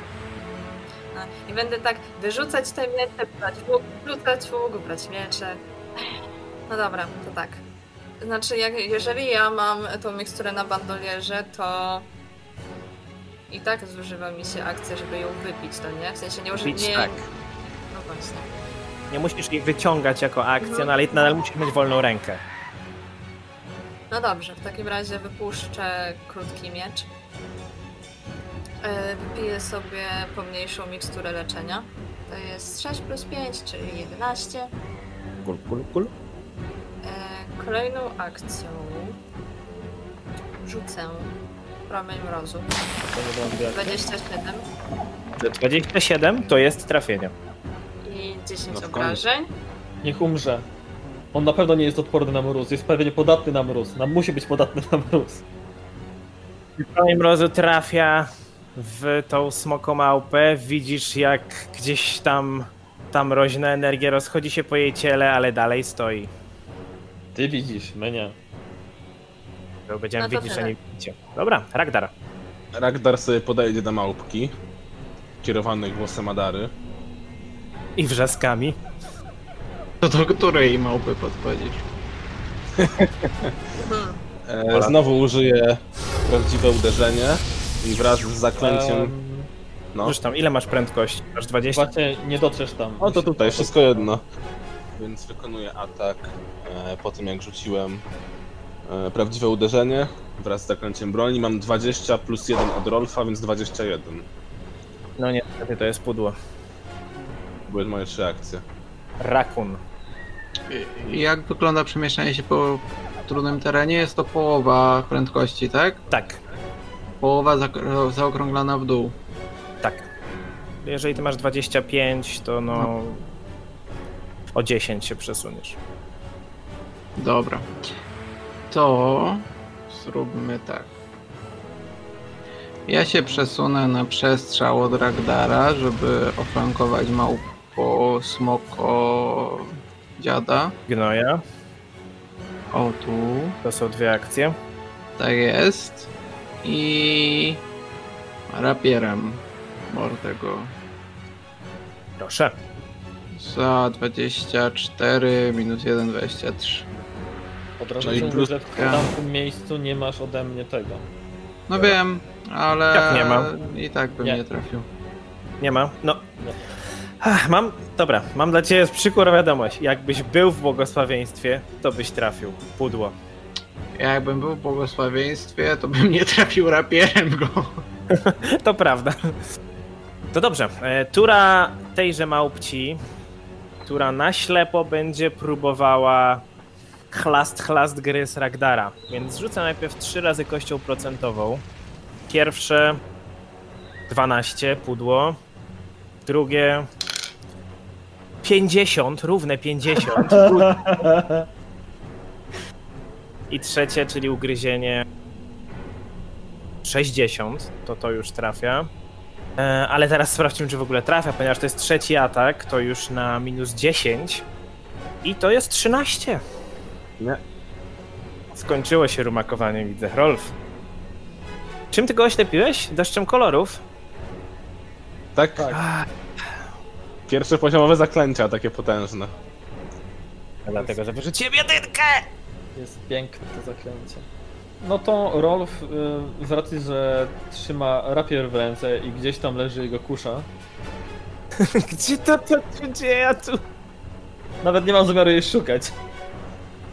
Speaker 4: I będę tak wyrzucać te miecze, brać łuk, rzucać łuk, brać miecze. No dobra, to tak. Znaczy, jak, jeżeli ja mam tą miksturę na bandolierze, to i tak zużywa mi się akcja, żeby ją wypić, to nie? W sensie nie używam...
Speaker 3: Bić,
Speaker 4: Nie...
Speaker 3: tak.
Speaker 4: No właśnie.
Speaker 3: Nie musisz ich wyciągać jako akcję,
Speaker 4: Mhm.
Speaker 3: no ale nadal musisz mieć wolną rękę.
Speaker 4: No dobrze, w takim razie wypuszczę krótki miecz. Yy, Wypiję sobie pomniejszą miksturę leczenia. To jest 6 plus 5, czyli 11.
Speaker 3: Kul, kul, kul.
Speaker 4: E, Kolejną akcją rzucę promień mrozu.
Speaker 1: To nie było odbiera.
Speaker 4: 27
Speaker 3: 27 to jest trafienie.
Speaker 4: i 10
Speaker 5: No w końcu.
Speaker 4: obrażeń.
Speaker 1: Niech umrze. On na pewno nie jest odporny na mróz, jest pewnie podatny na mróz. Nam musi być podatny na mróz.
Speaker 3: Panie Mrozu trafia w tą smokomałpę. Widzisz, jak gdzieś tam ta mroźna energia rozchodzi się po jej ciele, ale dalej stoi.
Speaker 1: Ty widzisz, my nie.
Speaker 3: Bo Będziemy
Speaker 4: No to
Speaker 3: widzieć, a
Speaker 4: tyle.
Speaker 3: nie widzicie. Dobra, Ragdar.
Speaker 5: Ragdar sobie podejdzie do małpki, kierowanej głosem Adary.
Speaker 3: I wrzaskami.
Speaker 2: To do której małpy podchodzisz?
Speaker 4: Hmm.
Speaker 5: E, znowu użyję prawdziwe uderzenie i wraz z zaklęciem...
Speaker 1: Ehm,
Speaker 5: No.
Speaker 3: Zresztą, ile masz prędkości? Masz 20?
Speaker 1: Właśnie nie dotrzesz tam.
Speaker 5: Ehm, No to tutaj, wszystko jedno. Więc wykonuję atak e, po tym jak rzuciłem e, prawdziwe uderzenie wraz z zaklęciem broni. Mam 20 plus 1 od Rolfa, więc 21.
Speaker 3: No nie, niestety to jest pudło.
Speaker 5: Były moje trzy akcje.
Speaker 3: Rakun.
Speaker 2: I- Jak wygląda przemieszczanie się po trudnym terenie? Jest to połowa prędkości, tak?
Speaker 3: Tak,
Speaker 2: Połowa zak- zaokrąglana w dół.
Speaker 3: tak. Jeżeli ty masz 25, to no... O 10 się przesuniesz.
Speaker 2: Dobra. To zróbmy tak. Ja się przesunę na przestrzał od Ragdara, żeby oflankować małpkę. po smoko dziada.
Speaker 3: Gnoja,
Speaker 2: O tu,
Speaker 3: to są dwie akcje.
Speaker 2: tak jest. I rapierem Mordego
Speaker 3: Proszę.
Speaker 2: za 24 minus 1, 23.
Speaker 1: Od razu
Speaker 5: No i
Speaker 1: mówię,
Speaker 5: plus-
Speaker 1: że w tamtym miejscu nie masz ode mnie tego.
Speaker 2: No wiem, ale
Speaker 3: Jak nie ma?
Speaker 2: i tak bym
Speaker 1: Nie.
Speaker 2: nie, trafił.
Speaker 3: Nie ma. No.
Speaker 1: Nie.
Speaker 3: Ach, mam. Dobra, mam dla ciebie przykłą wiadomość. Jakbyś był w błogosławieństwie, to byś trafił. Pudło.
Speaker 2: Jakbym był w błogosławieństwie, to bym nie trafił rapierem go.
Speaker 3: To prawda. To dobrze. E, Tura tejże małpci, która na ślepo będzie próbowała chlast, chlast gry z Ragdara. Więc rzucę najpierw trzy razy kością procentową. Pierwsze 12 pudło, drugie 50, równe 50. I trzecie, czyli ugryzienie 60, to to już trafia. E, ale teraz sprawdźmy, czy w ogóle trafia, ponieważ to jest trzeci atak, to już na minus 10. I to jest 13.
Speaker 5: Nie.
Speaker 3: Skończyło się rumakowanie, widzę. Rolf. Czym ty go oślepiłeś? Deszczem kolorów?
Speaker 5: Tak? Pierwszy poziomowe zaklęcia, takie potężne.
Speaker 3: Dlatego, że wyrzuciłem jedynkę.
Speaker 1: Jest piękne to zaklęcie. No to Rolf, y, z racji, że trzyma rapier w ręce i gdzieś tam leży jego kusza,
Speaker 3: Gdzie to, to, to gdzie ja tu?
Speaker 1: nawet nie mam zamiaru jej szukać,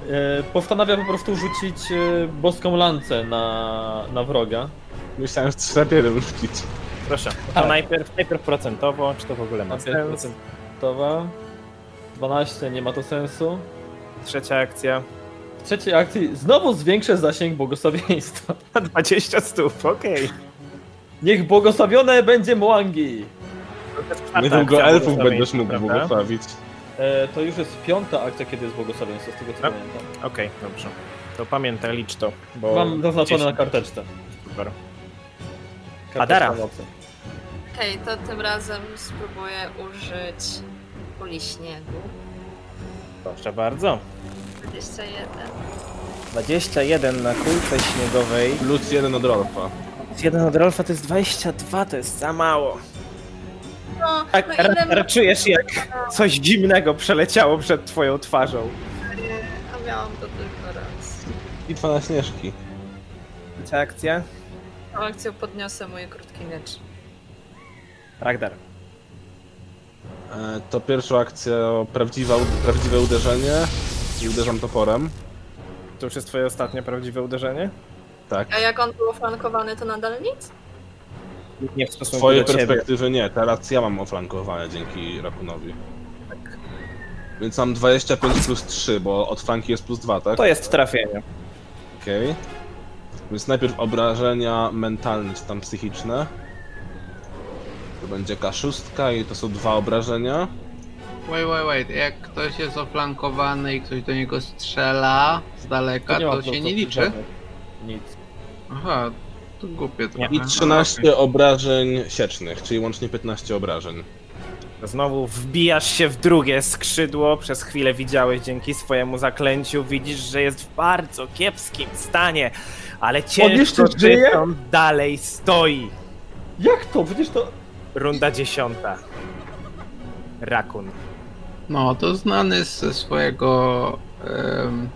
Speaker 1: y, postanawia po prostu rzucić y, boską lancę na, na wroga.
Speaker 5: Myślałem, że trzy rapiery rzucić.
Speaker 3: Proszę, to
Speaker 1: Tak.
Speaker 3: najpierw, najpierw procentowo, czy to w ogóle ma
Speaker 1: Rapier
Speaker 3: sens?
Speaker 1: procentowa. 12, nie ma to sensu.
Speaker 3: Trzecia akcja.
Speaker 1: W trzeciej akcji znowu zwiększę zasięg błogosławieństwa.
Speaker 3: 20 stóp, okej.
Speaker 1: Niech błogosławione będzie Mwangi!
Speaker 5: Niedługo
Speaker 3: Akcja
Speaker 5: elfów
Speaker 3: błogosławieństwa,
Speaker 5: będziesz mógł
Speaker 3: prawda?
Speaker 5: błogosławić.
Speaker 1: E, to już jest piąta akcja, kiedy jest błogosławieństwo, z tego co
Speaker 3: Tak.
Speaker 1: pamiętam.
Speaker 3: Okej, dobrze. To pamiętaj, licz to, bo...
Speaker 1: Mam zaznaczone na
Speaker 3: dziesięć-
Speaker 1: karteczce.
Speaker 3: Super.
Speaker 1: Karteczka
Speaker 3: Adara.
Speaker 1: mocy.
Speaker 4: Okej, to tym razem spróbuję użyć kuli śniegu.
Speaker 3: Proszę bardzo.
Speaker 4: 21.
Speaker 3: 21 na kulce śniegowej.
Speaker 5: Plus jeden od Rolfa.
Speaker 3: Z jeden od Rolfa to jest 22, to jest za mało.
Speaker 4: No,
Speaker 3: Tak,
Speaker 4: no
Speaker 3: ra-
Speaker 4: ile
Speaker 3: ra- czujesz jak coś zimnego przeleciało przed twoją twarzą.
Speaker 4: A miałam to tylko raz.
Speaker 5: Bitwa na śnieżki.
Speaker 3: Ta akcja?
Speaker 4: Tą akcją podniosę mój krótki miecz.
Speaker 3: Ragdar.
Speaker 5: E, To pierwsza akcja prawdziwa, prawdziwe uderzenie i uderzam toporem.
Speaker 3: To już jest twoje ostatnie prawdziwe uderzenie?
Speaker 5: Tak.
Speaker 4: A jak on był oflankowany, to nadal nic?
Speaker 3: Nie w stosunku
Speaker 5: Z twojej
Speaker 3: do ciebie.
Speaker 5: perspektywy nie, teraz ja mam oflankowanie dzięki Rakunowi. Więc mam 25 plus 3, bo od flanki jest plus 2, tak?
Speaker 3: To jest trafienie.
Speaker 5: Okej. Więc najpierw obrażenia mentalne czy tam psychiczne. To będzie K6 i to są dwa obrażenia.
Speaker 2: Wait, wait, wait. Jak ktoś jest oflankowany i ktoś do niego strzela z daleka,
Speaker 1: ma
Speaker 2: to,
Speaker 1: plus
Speaker 2: się nie
Speaker 1: do-
Speaker 2: liczy.
Speaker 1: Nic.
Speaker 2: Aha, to głupie trochę.
Speaker 5: I
Speaker 2: No,
Speaker 5: 13
Speaker 2: okej.
Speaker 5: obrażeń siecznych, czyli łącznie 15 obrażeń.
Speaker 3: Znowu wbijasz się w drugie skrzydło. Przez chwilę widziałeś dzięki swojemu zaklęciu. Widzisz, że jest w bardzo kiepskim stanie. Ale ciężko
Speaker 1: jeszcze żyje?
Speaker 3: żyje? dalej stoi.
Speaker 1: Jak to? Przecież to...
Speaker 3: Runda dziesiąta. Rakun.
Speaker 2: No, to znany ze swojego em,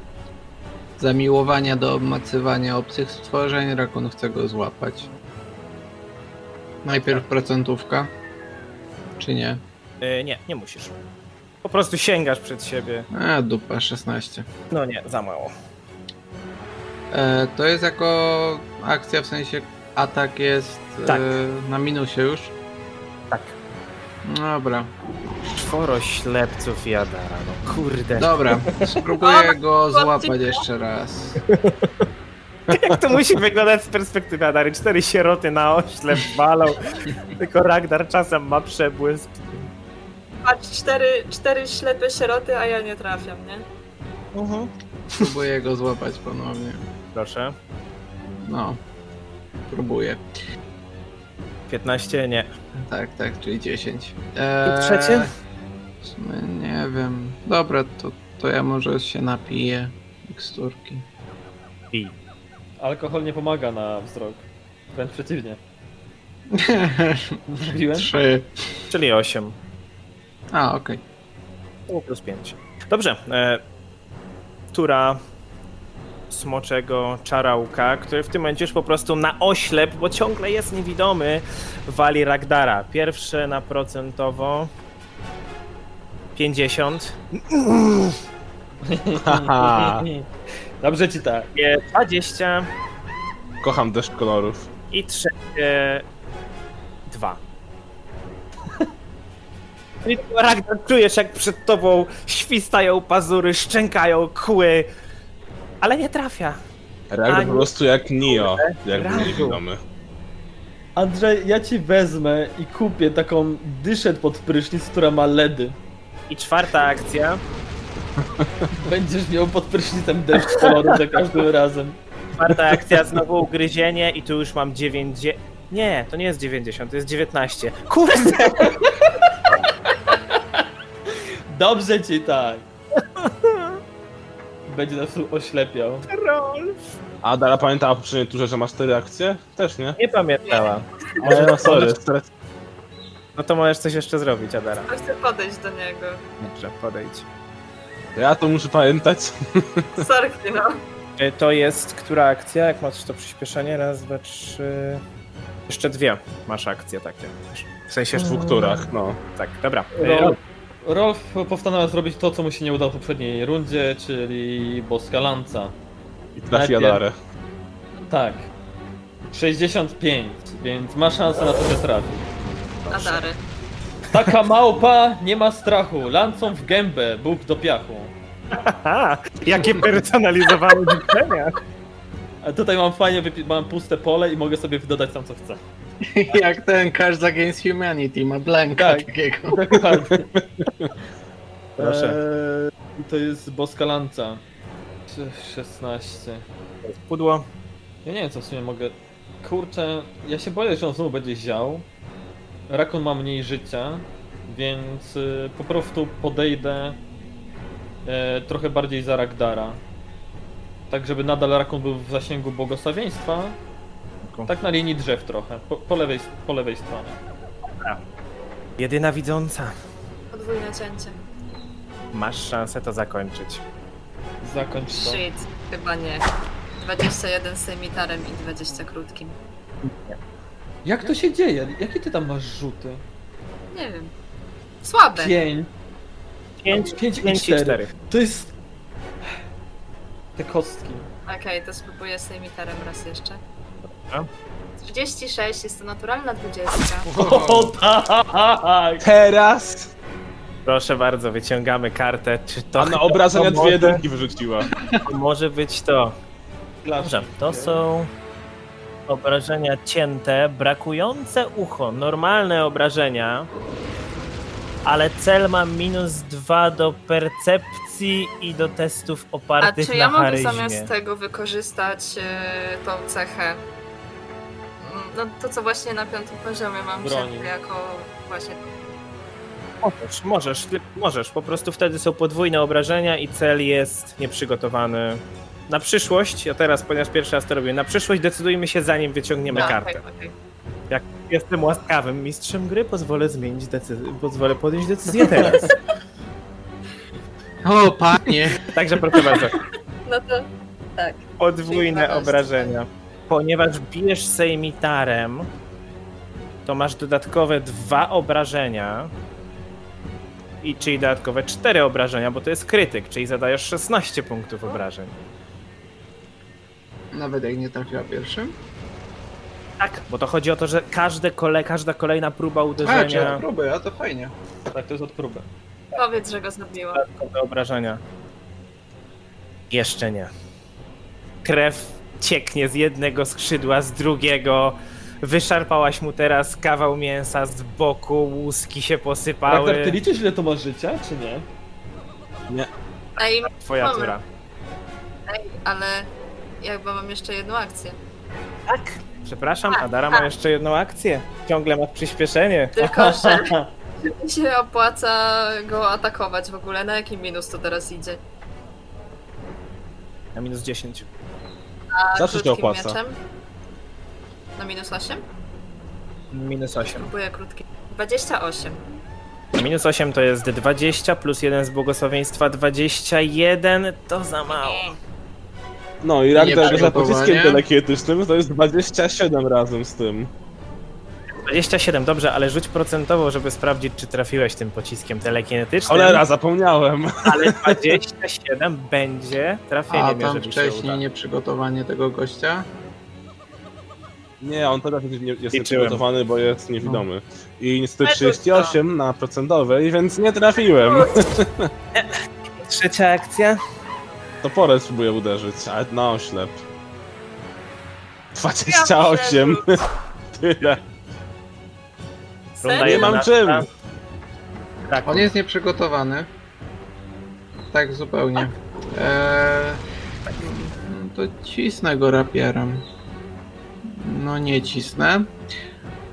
Speaker 2: zamiłowania do obmacywania obcych stworzeń. Rakun chce go złapać. Najpierw procentówka. Czy nie?
Speaker 3: Y, nie, nie musisz. Po prostu sięgasz przed siebie.
Speaker 2: A, dupa, 16.
Speaker 3: No nie, za mało.
Speaker 2: E, to jest jako akcja, w sensie atak jest
Speaker 3: Tak.
Speaker 2: e, na minusie już. No
Speaker 3: Tak.
Speaker 2: Dobra,
Speaker 3: Czworo ślepców jada rano. Kurde.
Speaker 2: dobra, spróbuję go
Speaker 4: chłopcy,
Speaker 2: złapać jeszcze raz.
Speaker 3: Jak Tak to musi wyglądać z perspektywy Adary? Cztery sieroty na oślep walą. Tylko Ragnar czasem ma przebłysk.
Speaker 4: Patrz, cztery, cztery ślepe sieroty, a ja nie trafiam, nie?
Speaker 2: Spróbuję go złapać ponownie.
Speaker 3: Proszę.
Speaker 2: No, próbuję.
Speaker 3: 15, nie.
Speaker 2: Tak, tak, czyli 10. Eee,
Speaker 3: I trzecie?
Speaker 2: W sumie nie wiem. Dobra, to, to ja może się napiję miksturki.
Speaker 3: I
Speaker 1: Alkohol nie pomaga na wzrok. Wręcz przeciwnie. Mówiłem?
Speaker 2: Trzy.
Speaker 3: Czyli 8.
Speaker 2: A, okej.
Speaker 3: Plus 5. Dobrze. E, tura smoczego czarałka, który w tym momencie już po prostu na oślep, bo ciągle jest niewidomy, wali Ragdara. Pierwsze na procentowo 50.
Speaker 5: Haha,
Speaker 1: Dobrze ci tak.
Speaker 3: Drugie 20
Speaker 5: kocham deszcz kolorów.
Speaker 3: i trzecie 2. I Ragnar, czujesz jak przed tobą świstają pazury, szczękają kły, ale nie trafia.
Speaker 5: Reaguję po
Speaker 3: Ani-
Speaker 5: prostu jak Nio, jak był
Speaker 3: Razu.
Speaker 5: niewidomy.
Speaker 1: Andrzej, ja ci wezmę i kupię taką dyszę pod prysznic, która ma ledy.
Speaker 3: I czwarta akcja.
Speaker 1: Będziesz miał pod prysznicem deszcz koloru za każdym razem.
Speaker 3: Czwarta akcja, znowu ugryzienie i tu już mam 9... Nie, to nie jest 90, to jest 19. Kurde!
Speaker 1: Dobrze ci tak. Będzie nas tu oślepiał.
Speaker 5: A Dara pamiętała o poprzedniej turze, że masz cztery akcje? Też nie?
Speaker 3: Nie pamiętałam.
Speaker 5: Ale no sorry.
Speaker 3: No to możesz coś jeszcze zrobić, Adara.
Speaker 4: Ja Chcę podejść do niego.
Speaker 3: Dobrze, podejdź.
Speaker 5: Ja to muszę pamiętać.
Speaker 4: Sorki, no.
Speaker 3: E, To jest która akcja? Jak masz to przyspieszenie? Raz, dwa, trzy. Jeszcze dwie masz akcje takie. W sensie
Speaker 5: W dwóch turach, no.
Speaker 3: Tak, dobra. E,
Speaker 1: Rolf, Rolf powstanawia zrobić to, co mu się nie udało w poprzedniej rundzie, czyli boska lanca.
Speaker 5: I trafiła
Speaker 1: Najpierw-
Speaker 5: Darę.
Speaker 1: Tak. 65, więc ma szansę na to, że trafi.
Speaker 4: Adary.
Speaker 1: Taka małpa nie ma strachu. Lancą w gębę, Bóg do piachu.
Speaker 3: Aha, jakie personalizowane życzenia.
Speaker 1: A tutaj mam fajnie, wypi- mam puste pole i mogę sobie dodać tam co chcę.
Speaker 2: Jak ten Cards Against Humanity ma blanka
Speaker 1: Tak.
Speaker 2: takiego.
Speaker 1: Dokładnie.
Speaker 3: Proszę.
Speaker 1: Eee, to jest boska lanca. 16.
Speaker 3: Pudło.
Speaker 1: Ja nie wiem, co w sumie mogę. Kurczę, ja się boję, że on znowu będzie ział. Rakon ma mniej życia, więc y, po prostu podejdę e, trochę bardziej za Ragdara. Tak, żeby nadal Rakon był w zasięgu błogosławieństwa. Tak na linii drzew trochę, po, po, lewej, po lewej stronie.
Speaker 3: Jedyna widząca.
Speaker 4: Podwójne cięcie.
Speaker 3: Masz szansę to zakończyć.
Speaker 1: Zakończ to.
Speaker 4: Shit, chyba nie. 21 z sejmitarem i 20 krótkim.
Speaker 1: Jak to się dzieje? Jakie ty tam masz rzuty?
Speaker 4: Nie wiem. Słabe.
Speaker 1: Pięć.
Speaker 3: Pięć,
Speaker 1: Pięć i
Speaker 3: pięć i
Speaker 1: cztery.
Speaker 3: cztery.
Speaker 1: To jest... Te kostki.
Speaker 4: Okej, to spróbuję z sejmitarem raz jeszcze.
Speaker 3: Dobra.
Speaker 4: 36, jest to naturalna 20.
Speaker 1: O tak!
Speaker 5: Teraz!
Speaker 3: Proszę bardzo, wyciągamy kartę. Czy to
Speaker 5: A na obrażenia
Speaker 3: to
Speaker 5: dwie
Speaker 3: może-
Speaker 5: jedynki wyrzuciła.
Speaker 3: może być to? Dobrze, to są obrażenia cięte, brakujące ucho, normalne obrażenia, ale cel ma minus dwa do percepcji i do testów
Speaker 4: A
Speaker 3: opartych
Speaker 4: czy ja
Speaker 3: na
Speaker 4: mogę
Speaker 3: charyzmie.
Speaker 4: zamiast tego wykorzystać e, tą cechę? Mm, No to co właśnie na piątym poziomie mam
Speaker 1: Broni.
Speaker 4: cechę jako właśnie
Speaker 3: Możesz, możesz, ty- możesz, po prostu wtedy są podwójne obrażenia i cel jest nieprzygotowany. Na przyszłość, a teraz, ponieważ pierwszy raz to robię, na przyszłość decydujmy się zanim wyciągniemy
Speaker 4: A,
Speaker 3: kartę.
Speaker 4: tak, okej.
Speaker 3: Jestem łaskawym mistrzem gry, pozwolę zmienić decyzję, pozwolę podjąć decyzję teraz.
Speaker 2: O, panie!
Speaker 3: Także proszę bardzo.
Speaker 4: No to tak.
Speaker 3: podwójne
Speaker 4: 12,
Speaker 3: obrażenia. Ponieważ bijesz sejmitarem, to masz dodatkowe dwa obrażenia. I czyli dodatkowe cztery obrażenia, bo to jest krytyk, czyli zadajesz 16 punktów obrażeń.
Speaker 2: Nawet jak nie trafiła pierwszym.
Speaker 3: Tak. Bo to chodzi o to, że każde kole, każda kolejna próba
Speaker 2: A, czy ja
Speaker 3: uderzenia
Speaker 2: próby, a to fajnie.
Speaker 1: Tak, to jest od próby.
Speaker 4: Powiedz, że go zrobiła.
Speaker 3: dodatkowe obrażenia. Jeszcze nie. Krew cieknie z jednego skrzydła, z drugiego. Wyszarpałaś mu teraz kawał mięsa z boku, łuski się posypały.
Speaker 1: Ragnar, ty liczysz ile to ma życia, czy nie?
Speaker 4: Ej,
Speaker 3: Twoja
Speaker 4: Mamy.
Speaker 3: tura.
Speaker 4: ej, ale jakby mam jeszcze jedną akcję.
Speaker 3: Przepraszam, Adara ma jeszcze jedną akcję. Ciągle ma przyspieszenie.
Speaker 4: Tylko, że mi się opłaca go atakować w ogóle? Na jaki minus to teraz idzie?
Speaker 3: Na minus 10.
Speaker 4: A
Speaker 5: Zawsze się
Speaker 4: krótkim
Speaker 5: opłaca.
Speaker 4: Mieczem? Na minus 8?
Speaker 3: Minus 8.
Speaker 4: Próbuję krótki. 28.
Speaker 3: Minus 8 to jest 20, plus 1 z błogosławieństwa 21, to za mało.
Speaker 5: No i Ragnar go za
Speaker 2: przygotowanie.
Speaker 5: pociskiem telekinetycznym to jest 27 razem z tym.
Speaker 3: 27, dobrze, ale rzuć procentowo, żeby sprawdzić, czy trafiłeś tym pociskiem telekinetycznym.
Speaker 5: Cholera, zapomniałem.
Speaker 3: Ale 27 będzie
Speaker 2: A
Speaker 3: trafieniem,
Speaker 2: tam
Speaker 3: jeżeli się uda.
Speaker 2: wcześniej nieprzygotowanie tego gościa.
Speaker 5: Nie, on teraz jest nie- jest
Speaker 3: Liczyłem.
Speaker 5: przygotowany, bo jest niewidomy. I niestety 38 na procentowej, więc nie trafiłem.
Speaker 3: Trzecia akcja.
Speaker 5: Toporem spróbuję uderzyć, ale na oślep. 28. Tyle.
Speaker 4: Serio?
Speaker 5: Nie mam czym.
Speaker 3: Tak,
Speaker 2: On jest nieprzygotowany. Tak zupełnie. Eee, no to cisnę go rapierem. No nie cisnę.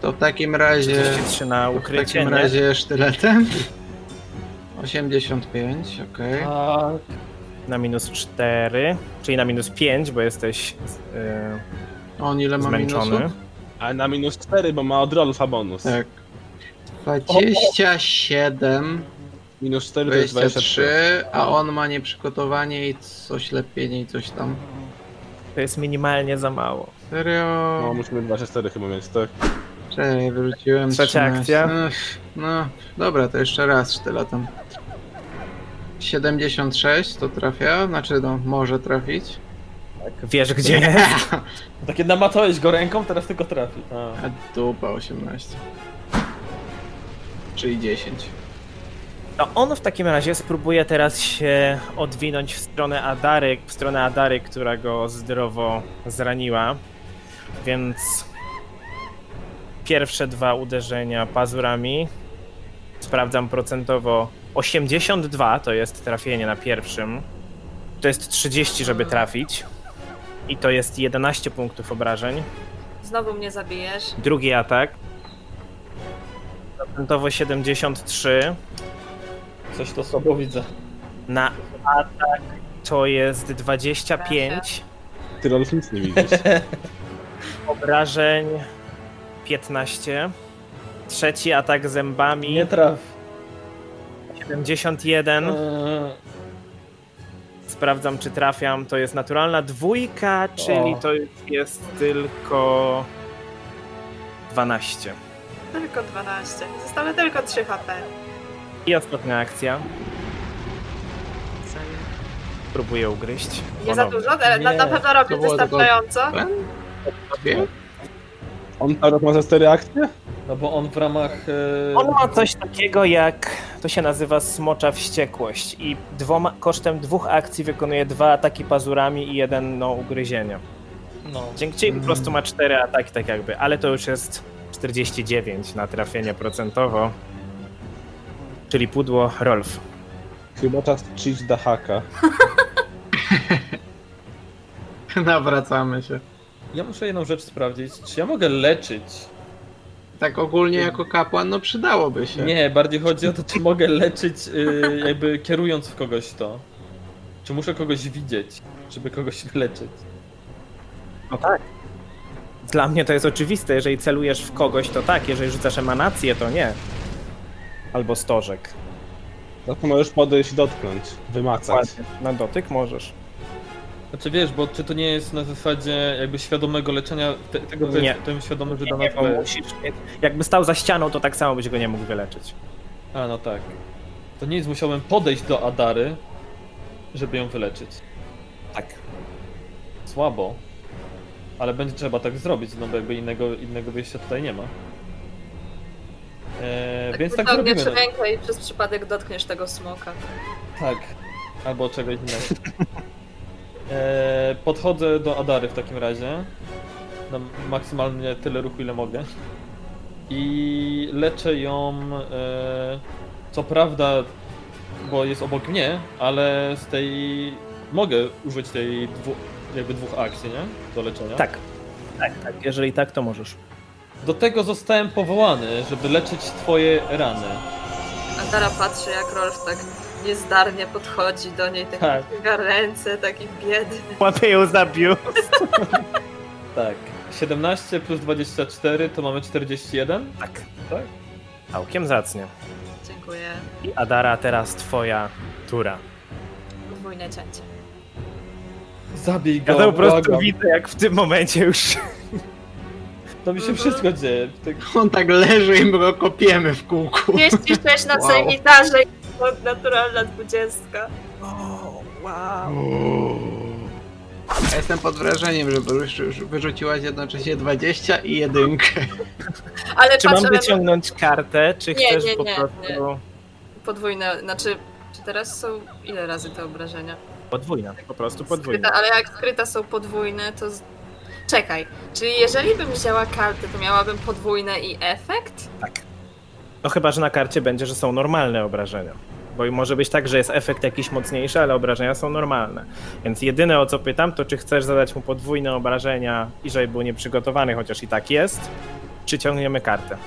Speaker 2: To w takim razie.
Speaker 3: 33 na
Speaker 2: W
Speaker 3: ukrycie,
Speaker 2: takim
Speaker 3: nie?
Speaker 2: razie sztyletem. 85, okej.
Speaker 1: A,
Speaker 3: na minus 4, czyli na minus 5, bo jesteś e,
Speaker 2: On ile ma
Speaker 3: zmęczony.
Speaker 2: minusów?
Speaker 5: Ale na minus 4, bo ma od Rolfa bonus.
Speaker 2: Tak. 27,
Speaker 5: Minus 4 to jest 23.
Speaker 2: 23, a on ma nieprzygotowanie i coś lepienie i coś tam.
Speaker 3: To jest minimalnie za mało.
Speaker 2: Serio?
Speaker 5: No, musimy 24 chyba mieć, tak?
Speaker 2: Czekaj, wyrzuciłem
Speaker 3: Trzecia
Speaker 2: 13.
Speaker 3: akcja.
Speaker 2: Ech, No, dobra, to jeszcze raz sztyletem. 76 to trafia, znaczy no, może trafić.
Speaker 3: Tak, Wiesz gdzie jest?
Speaker 1: tak kiedy namacałeś go ręką, teraz tylko trafi. A.
Speaker 2: A dupa 18. Czyli 10.
Speaker 3: No on w takim razie spróbuje teraz się odwinąć w stronę Adary, w stronę Adary, która go zdrowo zraniła. Więc pierwsze dwa uderzenia pazurami. Sprawdzam procentowo 82 to jest trafienie na pierwszym. To jest 30, żeby trafić. I to jest 11 punktów obrażeń.
Speaker 4: Znowu mnie zabijesz.
Speaker 3: Drugi atak. Procentowo 73.
Speaker 1: Coś to słabo widzę.
Speaker 3: Na atak to jest 25.
Speaker 5: Ty Rolf nic nie widzisz.
Speaker 3: Obrażeń 15. Trzeci atak zębami
Speaker 1: Nie traf.
Speaker 3: 71.
Speaker 1: Eee,
Speaker 3: Sprawdzam, czy trafiam. To jest naturalna dwójka, czyli
Speaker 1: O.
Speaker 3: to jest tylko 12.
Speaker 4: Tylko 12. Zostały tylko 3 HP.
Speaker 3: I ostatnia akcja. Próbuję ugryźć.
Speaker 4: Nie za
Speaker 3: Ponownie.
Speaker 4: dużo, ale na, na
Speaker 1: Nie,
Speaker 4: pewno
Speaker 2: to
Speaker 4: robię
Speaker 2: było tylko-
Speaker 4: wystarczająco.
Speaker 2: Dwie?
Speaker 5: On teraz ma za 4 akcje?
Speaker 1: no bo on w ramach... e,
Speaker 3: On ma coś takiego jak, to się nazywa smocza wściekłość i dwoma, kosztem dwóch akcji wykonuje dwa ataki pazurami i jeden no, ugryzienie.
Speaker 1: No.
Speaker 3: Dzięki czemu po prostu ma cztery ataki tak jakby, ale to już jest 49 na trafienie procentowo. Czyli pudło Rolf.
Speaker 5: Chyba czas cheat da haka.
Speaker 2: Nawracamy się.
Speaker 1: Ja muszę jedną rzecz sprawdzić. Czy ja mogę leczyć?
Speaker 2: Tak ogólnie jako kapłan, no przydałoby
Speaker 3: Tak.
Speaker 2: się.
Speaker 1: Nie, bardziej chodzi o to, czy mogę leczyć y, jakby kierując w kogoś to. Czy muszę kogoś widzieć, żeby kogoś leczyć?
Speaker 3: No tak. Dla mnie to jest oczywiste, jeżeli celujesz w kogoś to tak, jeżeli rzucasz emanację to nie. Albo stożek.
Speaker 5: Za No to możesz podejść i dotknąć. Wymacać.
Speaker 3: Ładnie. Na dotyk możesz.
Speaker 1: Znaczy wiesz, bo czy to nie jest na zasadzie jakby świadomego leczenia te, tego, to
Speaker 3: Nie.
Speaker 1: jest, to jest świadome, że
Speaker 3: Nie,
Speaker 1: dana
Speaker 3: nie, bo musisz, jakby stał za ścianą, to tak samo byś go nie mógł wyleczyć.
Speaker 1: A no tak. To nic, musiałbym podejść do Adary, żeby ją wyleczyć.
Speaker 3: Tak.
Speaker 1: Słabo. Ale będzie trzeba tak zrobić, no bo jakby innego, innego wyjścia tutaj nie ma. E, więc tak
Speaker 4: Wyciągniesz
Speaker 1: zrobimy. no.
Speaker 4: rękę i przez przypadek dotkniesz tego smoka.
Speaker 1: Tak. Albo czegoś innego. E, podchodzę do Adary w takim razie. Na maksymalnie tyle ruchu, ile mogę. I leczę ją. E, co prawda, bo jest obok mnie, ale z tej. Mogę użyć tej dwu, jakby dwóch akcji, nie? Do leczenia.
Speaker 3: Tak. Tak, tak. Jeżeli tak, to możesz.
Speaker 1: Do tego zostałem powołany, żeby leczyć twoje rany.
Speaker 4: Adara patrzy, jak Rolf tak niezdarnie podchodzi do niej, tak
Speaker 1: Tak.
Speaker 4: wyciąga ręce, taki biedny.
Speaker 3: Łapie ją za biust.
Speaker 1: Tak. 17 plus 24 to mamy 41.
Speaker 3: Tak.
Speaker 1: Tak?
Speaker 3: Całkiem zacnie.
Speaker 4: Dziękuję.
Speaker 3: I Adara, teraz twoja tura.
Speaker 4: Podwójne cięcie.
Speaker 1: Zabij go.
Speaker 3: Ja to po prostu
Speaker 1: błagam.
Speaker 3: widzę, jak w tym momencie już
Speaker 1: To mi się wszystko dzieje. Tak,
Speaker 2: On tak leży i my go kopiemy w kółku.
Speaker 4: 206 na
Speaker 2: Wow.
Speaker 4: celitarze i to naturalna 20.
Speaker 2: Ja jestem pod wrażeniem, że wyrzu- wyrzuciłaś jednocześnie 20 i jedynkę.
Speaker 4: Ale
Speaker 3: Czy mam
Speaker 4: patrz, ale
Speaker 3: wyciągnąć kartę, czy
Speaker 4: Nie,
Speaker 3: chcesz
Speaker 4: nie,
Speaker 3: po
Speaker 4: nie,
Speaker 3: prostu.
Speaker 4: podwójne, znaczy, czy teraz są ile razy te obrażenia?
Speaker 3: Podwójna, po prostu podwójna.
Speaker 4: Skryta, ale jak skryta są podwójne, to... Z... Czekaj, czyli jeżeli bym wzięła kartę, to miałabym podwójne i efekt?
Speaker 3: No chyba, że na karcie będzie, że są normalne obrażenia. Bo i może być tak, że jest efekt jakiś mocniejszy, ale obrażenia są normalne. Więc jedyne o co pytam, to czy chcesz zadać mu podwójne obrażenia i żeby był nieprzygotowany, chociaż i tak jest, czy ciągniemy kartę.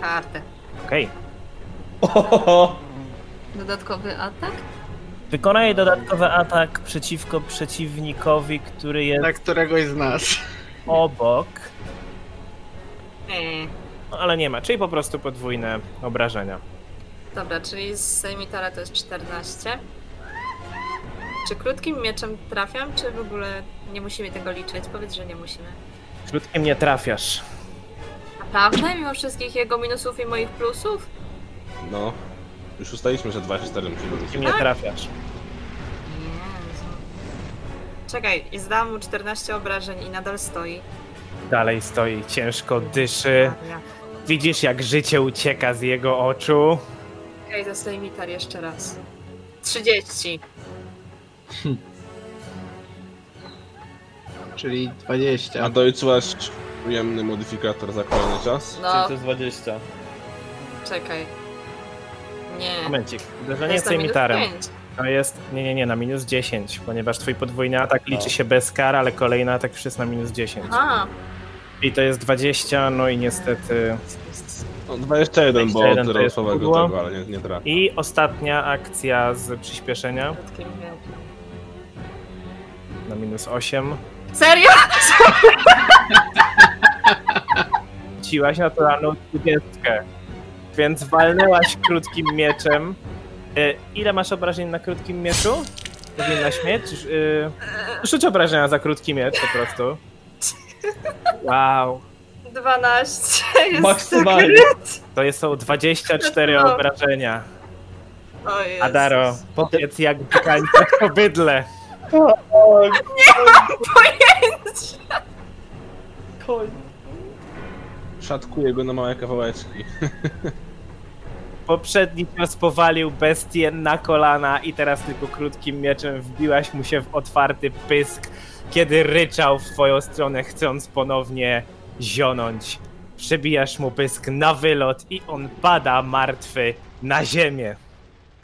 Speaker 4: Kartę.
Speaker 3: Okej.
Speaker 1: Ohoho.
Speaker 4: Dodatkowy atak?
Speaker 3: Wykonaj dodatkowy atak przeciwko przeciwnikowi, który jest
Speaker 2: Na któregoś z nas.
Speaker 3: obok,
Speaker 4: Nie.
Speaker 3: no ale nie ma, czyli po prostu podwójne obrażenia.
Speaker 4: Dobra, czyli z Sejmitara to jest 14. Czy krótkim mieczem trafiam, czy w ogóle nie musimy tego liczyć? Powiedz, że nie musimy.
Speaker 3: Krótkiem nie trafiasz.
Speaker 4: Naprawdę? Mimo wszystkich jego minusów i moich plusów?
Speaker 5: No. Już ustaliśmy, że 24 musi
Speaker 3: Krótkim
Speaker 5: być.
Speaker 3: nie trafiasz.
Speaker 4: Jezu. Czekaj, i zdałam mu 14 obrażeń i nadal stoi.
Speaker 3: Dalej stoi, ciężko dyszy.
Speaker 4: Ja.
Speaker 3: Widzisz, jak życie ucieka z jego oczu.
Speaker 4: Okej, okay, za Sejmitar jeszcze raz. 30.
Speaker 2: Czyli
Speaker 5: A
Speaker 2: 20.
Speaker 5: dojczyłaś ujemny modyfikator za kolejny czas?
Speaker 4: No,
Speaker 1: Czyli to jest 20.
Speaker 4: czekaj. Nie.
Speaker 3: Momencik,
Speaker 4: To
Speaker 3: uderzenie
Speaker 4: jest
Speaker 3: jest
Speaker 4: na minus
Speaker 3: emitarem.
Speaker 4: pięć.
Speaker 3: To jest, nie, nie, nie, na minus 10, ponieważ twój podwójny atak liczy się bez kar, ale kolejny atak już jest na minus 10.
Speaker 4: No. Aha.
Speaker 3: I to jest 20, no i niestety...
Speaker 5: No 21, bo
Speaker 3: 21 to
Speaker 5: od
Speaker 3: jest
Speaker 5: rosowego
Speaker 3: pudło.
Speaker 5: tego, ale nie, nie trafi.
Speaker 3: I ostatnia akcja z przyspieszenia
Speaker 4: Krótkim mieczem.
Speaker 3: na minus 8.
Speaker 4: Serio?
Speaker 3: Rzuciłaś naturalną 20, więc walnęłaś krótkim mieczem. Y, Ile masz obrażeń na krótkim mieczu? Powinnaś mieć? Y, Rzuć obrażenia za krótki miecz po prostu. Wow.
Speaker 4: 12 jest
Speaker 1: Maksymalnie.
Speaker 4: sekret.
Speaker 3: To jest są 24
Speaker 4: No.
Speaker 3: obrażenia.
Speaker 4: O Jezus.
Speaker 3: Adaro, powiedz jak wykańczać po bydle.
Speaker 4: Pojęcie.
Speaker 5: Szatkuję go na małe kawałeczki.
Speaker 3: Poprzedni cios powalił bestię na kolana i teraz tylko krótkim mieczem wbiłaś mu się w otwarty pysk, kiedy ryczał w twoją stronę, chcąc ponownie zionąć. Przebijasz mu pysk na wylot i on pada martwy na ziemię.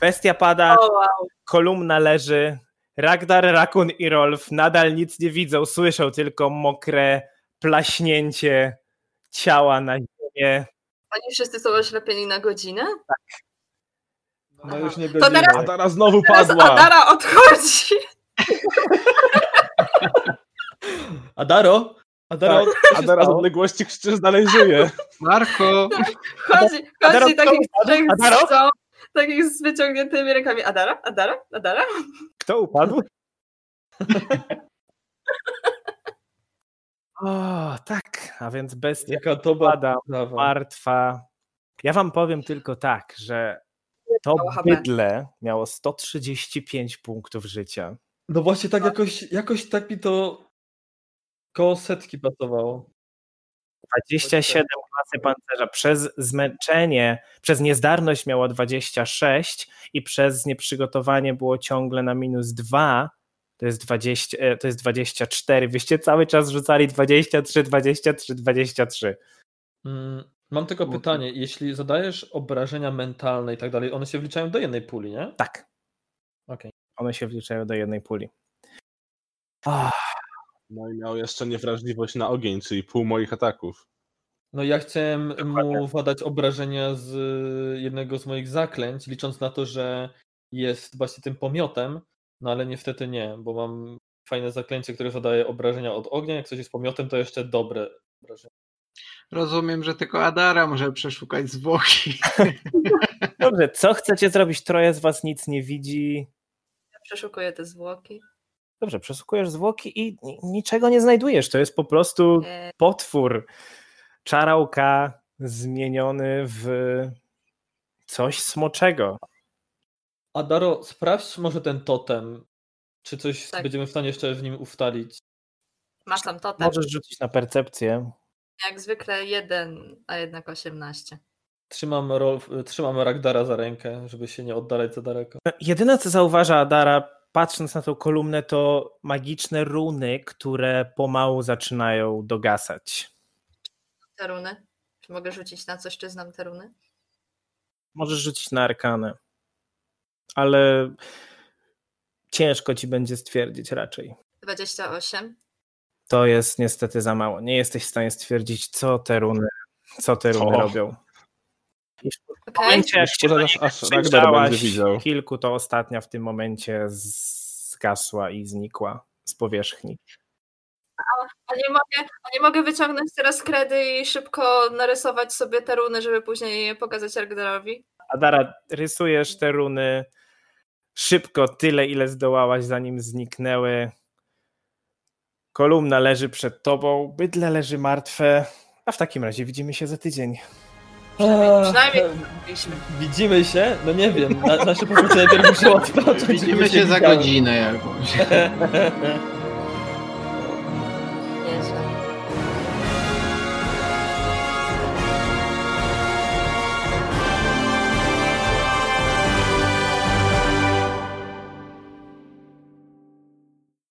Speaker 3: Bestia pada,
Speaker 4: O, wow.
Speaker 3: kolumna leży. Ragdar, Rakun i Rolf nadal nic nie widzą, słyszą tylko mokre plaśnięcie ciała na ziemię.
Speaker 4: Oni wszyscy są oślepieni na godzinę?
Speaker 3: Tak.
Speaker 1: No już nie
Speaker 4: To teraz-
Speaker 1: godzina.
Speaker 5: Adara znowu
Speaker 4: Teraz
Speaker 5: padła!
Speaker 4: Adara odchodzi.
Speaker 1: Adaro? Adaro,
Speaker 3: Tak.
Speaker 1: co się
Speaker 5: Adara z
Speaker 1: stało?
Speaker 5: odległości krzyczy, dalej żyje.
Speaker 2: Marko!
Speaker 4: Chodzi,
Speaker 3: Adaro,
Speaker 4: chodzi takich
Speaker 3: co?
Speaker 4: trzech
Speaker 3: Adaro?
Speaker 4: z całą, takich z wyciągniętymi rękami. Adara? Adara? Adara?
Speaker 3: Kto upadł? o, tak, a więc bestia
Speaker 1: Jaka to
Speaker 3: pada
Speaker 1: była
Speaker 3: martwa. Ja wam powiem tylko tak, że to
Speaker 4: Miało HP.
Speaker 3: bydlę miało 135 punktów życia.
Speaker 1: No właśnie tak jakoś, jakoś tak mi to koło setki pasowało.
Speaker 3: 27 klasy pancerza. Przez zmęczenie, przez niezdarność miało 26 i przez nieprzygotowanie było ciągle na minus 2. To jest, 20, e, to jest 24. Wyście cały czas rzucali 23, 23, 23.
Speaker 1: Mm, Mam tylko
Speaker 2: Bo-
Speaker 1: pytanie, jeśli zadajesz obrażenia mentalne i tak dalej, one się wliczają do jednej puli, nie?
Speaker 3: Tak.
Speaker 1: Okej.
Speaker 3: One się wliczają do jednej puli. Ah,
Speaker 5: No i miał jeszcze niewrażliwość na ogień, czyli pół moich ataków.
Speaker 1: No ja chciałem mu władać obrażenia z y, jednego z moich zaklęć, licząc na to, że jest właśnie tym pomiotem, no ale niestety nie, bo mam fajne zaklęcie, które zadaje obrażenia od ognia. Jak coś jest pomiotem, to jeszcze dobre obrażenia.
Speaker 2: Rozumiem, że tylko Adara może przeszukać zwłoki.
Speaker 3: Dobrze, co chcecie zrobić? Troje z was nic nie widzi.
Speaker 4: Przeszukuję te zwłoki.
Speaker 3: Dobrze, przesłuchujesz zwłoki i ni- niczego nie znajdujesz. To jest po prostu
Speaker 4: E,
Speaker 3: potwór, czarałka zmieniony w coś smoczego.
Speaker 1: Adaro, sprawdź może ten totem, czy coś
Speaker 4: Tak.
Speaker 1: będziemy w stanie jeszcze w nim ustalić.
Speaker 4: masz tam totem.
Speaker 3: Możesz rzucić na percepcję.
Speaker 4: Jak zwykle jeden, a jednak 18.
Speaker 1: Trzymam, Rolf, y, trzymam Ragdara za rękę, żeby się nie oddalać za daleko.
Speaker 3: Jedyne, co zauważa Adara, patrząc na tą kolumnę, to magiczne runy, które pomału zaczynają dogasać.
Speaker 4: Te runy. Czy mogę rzucić na coś, czy znam te runy?
Speaker 3: Możesz rzucić na arkanę, ale ciężko ci będzie stwierdzić raczej.
Speaker 4: 28.
Speaker 3: To jest niestety za mało. Nie jesteś w stanie stwierdzić, co te runy, co te runy
Speaker 5: O.
Speaker 3: robią. W
Speaker 4: Okej.
Speaker 3: momencie, jak się do
Speaker 5: Zaraz
Speaker 3: nich
Speaker 5: aż Ragnar
Speaker 3: przyjrzałaś
Speaker 5: będzie Tak, widział.
Speaker 3: kilku, to ostatnia w tym momencie zgasła i znikła z powierzchni.
Speaker 4: A nie, mogę, a nie mogę wyciągnąć teraz kredy i szybko narysować sobie te runy, żeby później je pokazać Argdarowi.
Speaker 3: Adara, rysujesz te runy szybko, tyle ile zdołałaś, zanim zniknęły. Kolumna leży przed tobą, bydle leży martwe. A w takim razie widzimy się za tydzień.
Speaker 4: Przynajmniej-
Speaker 1: Eee,
Speaker 4: przynajmniej Byliśmy.
Speaker 1: Widzimy się? No nie wiem, na, nasze poczucie najpierw muszę odpocząć. żeby
Speaker 2: Widzimy się za
Speaker 1: widziały.
Speaker 2: godzinę jakąś.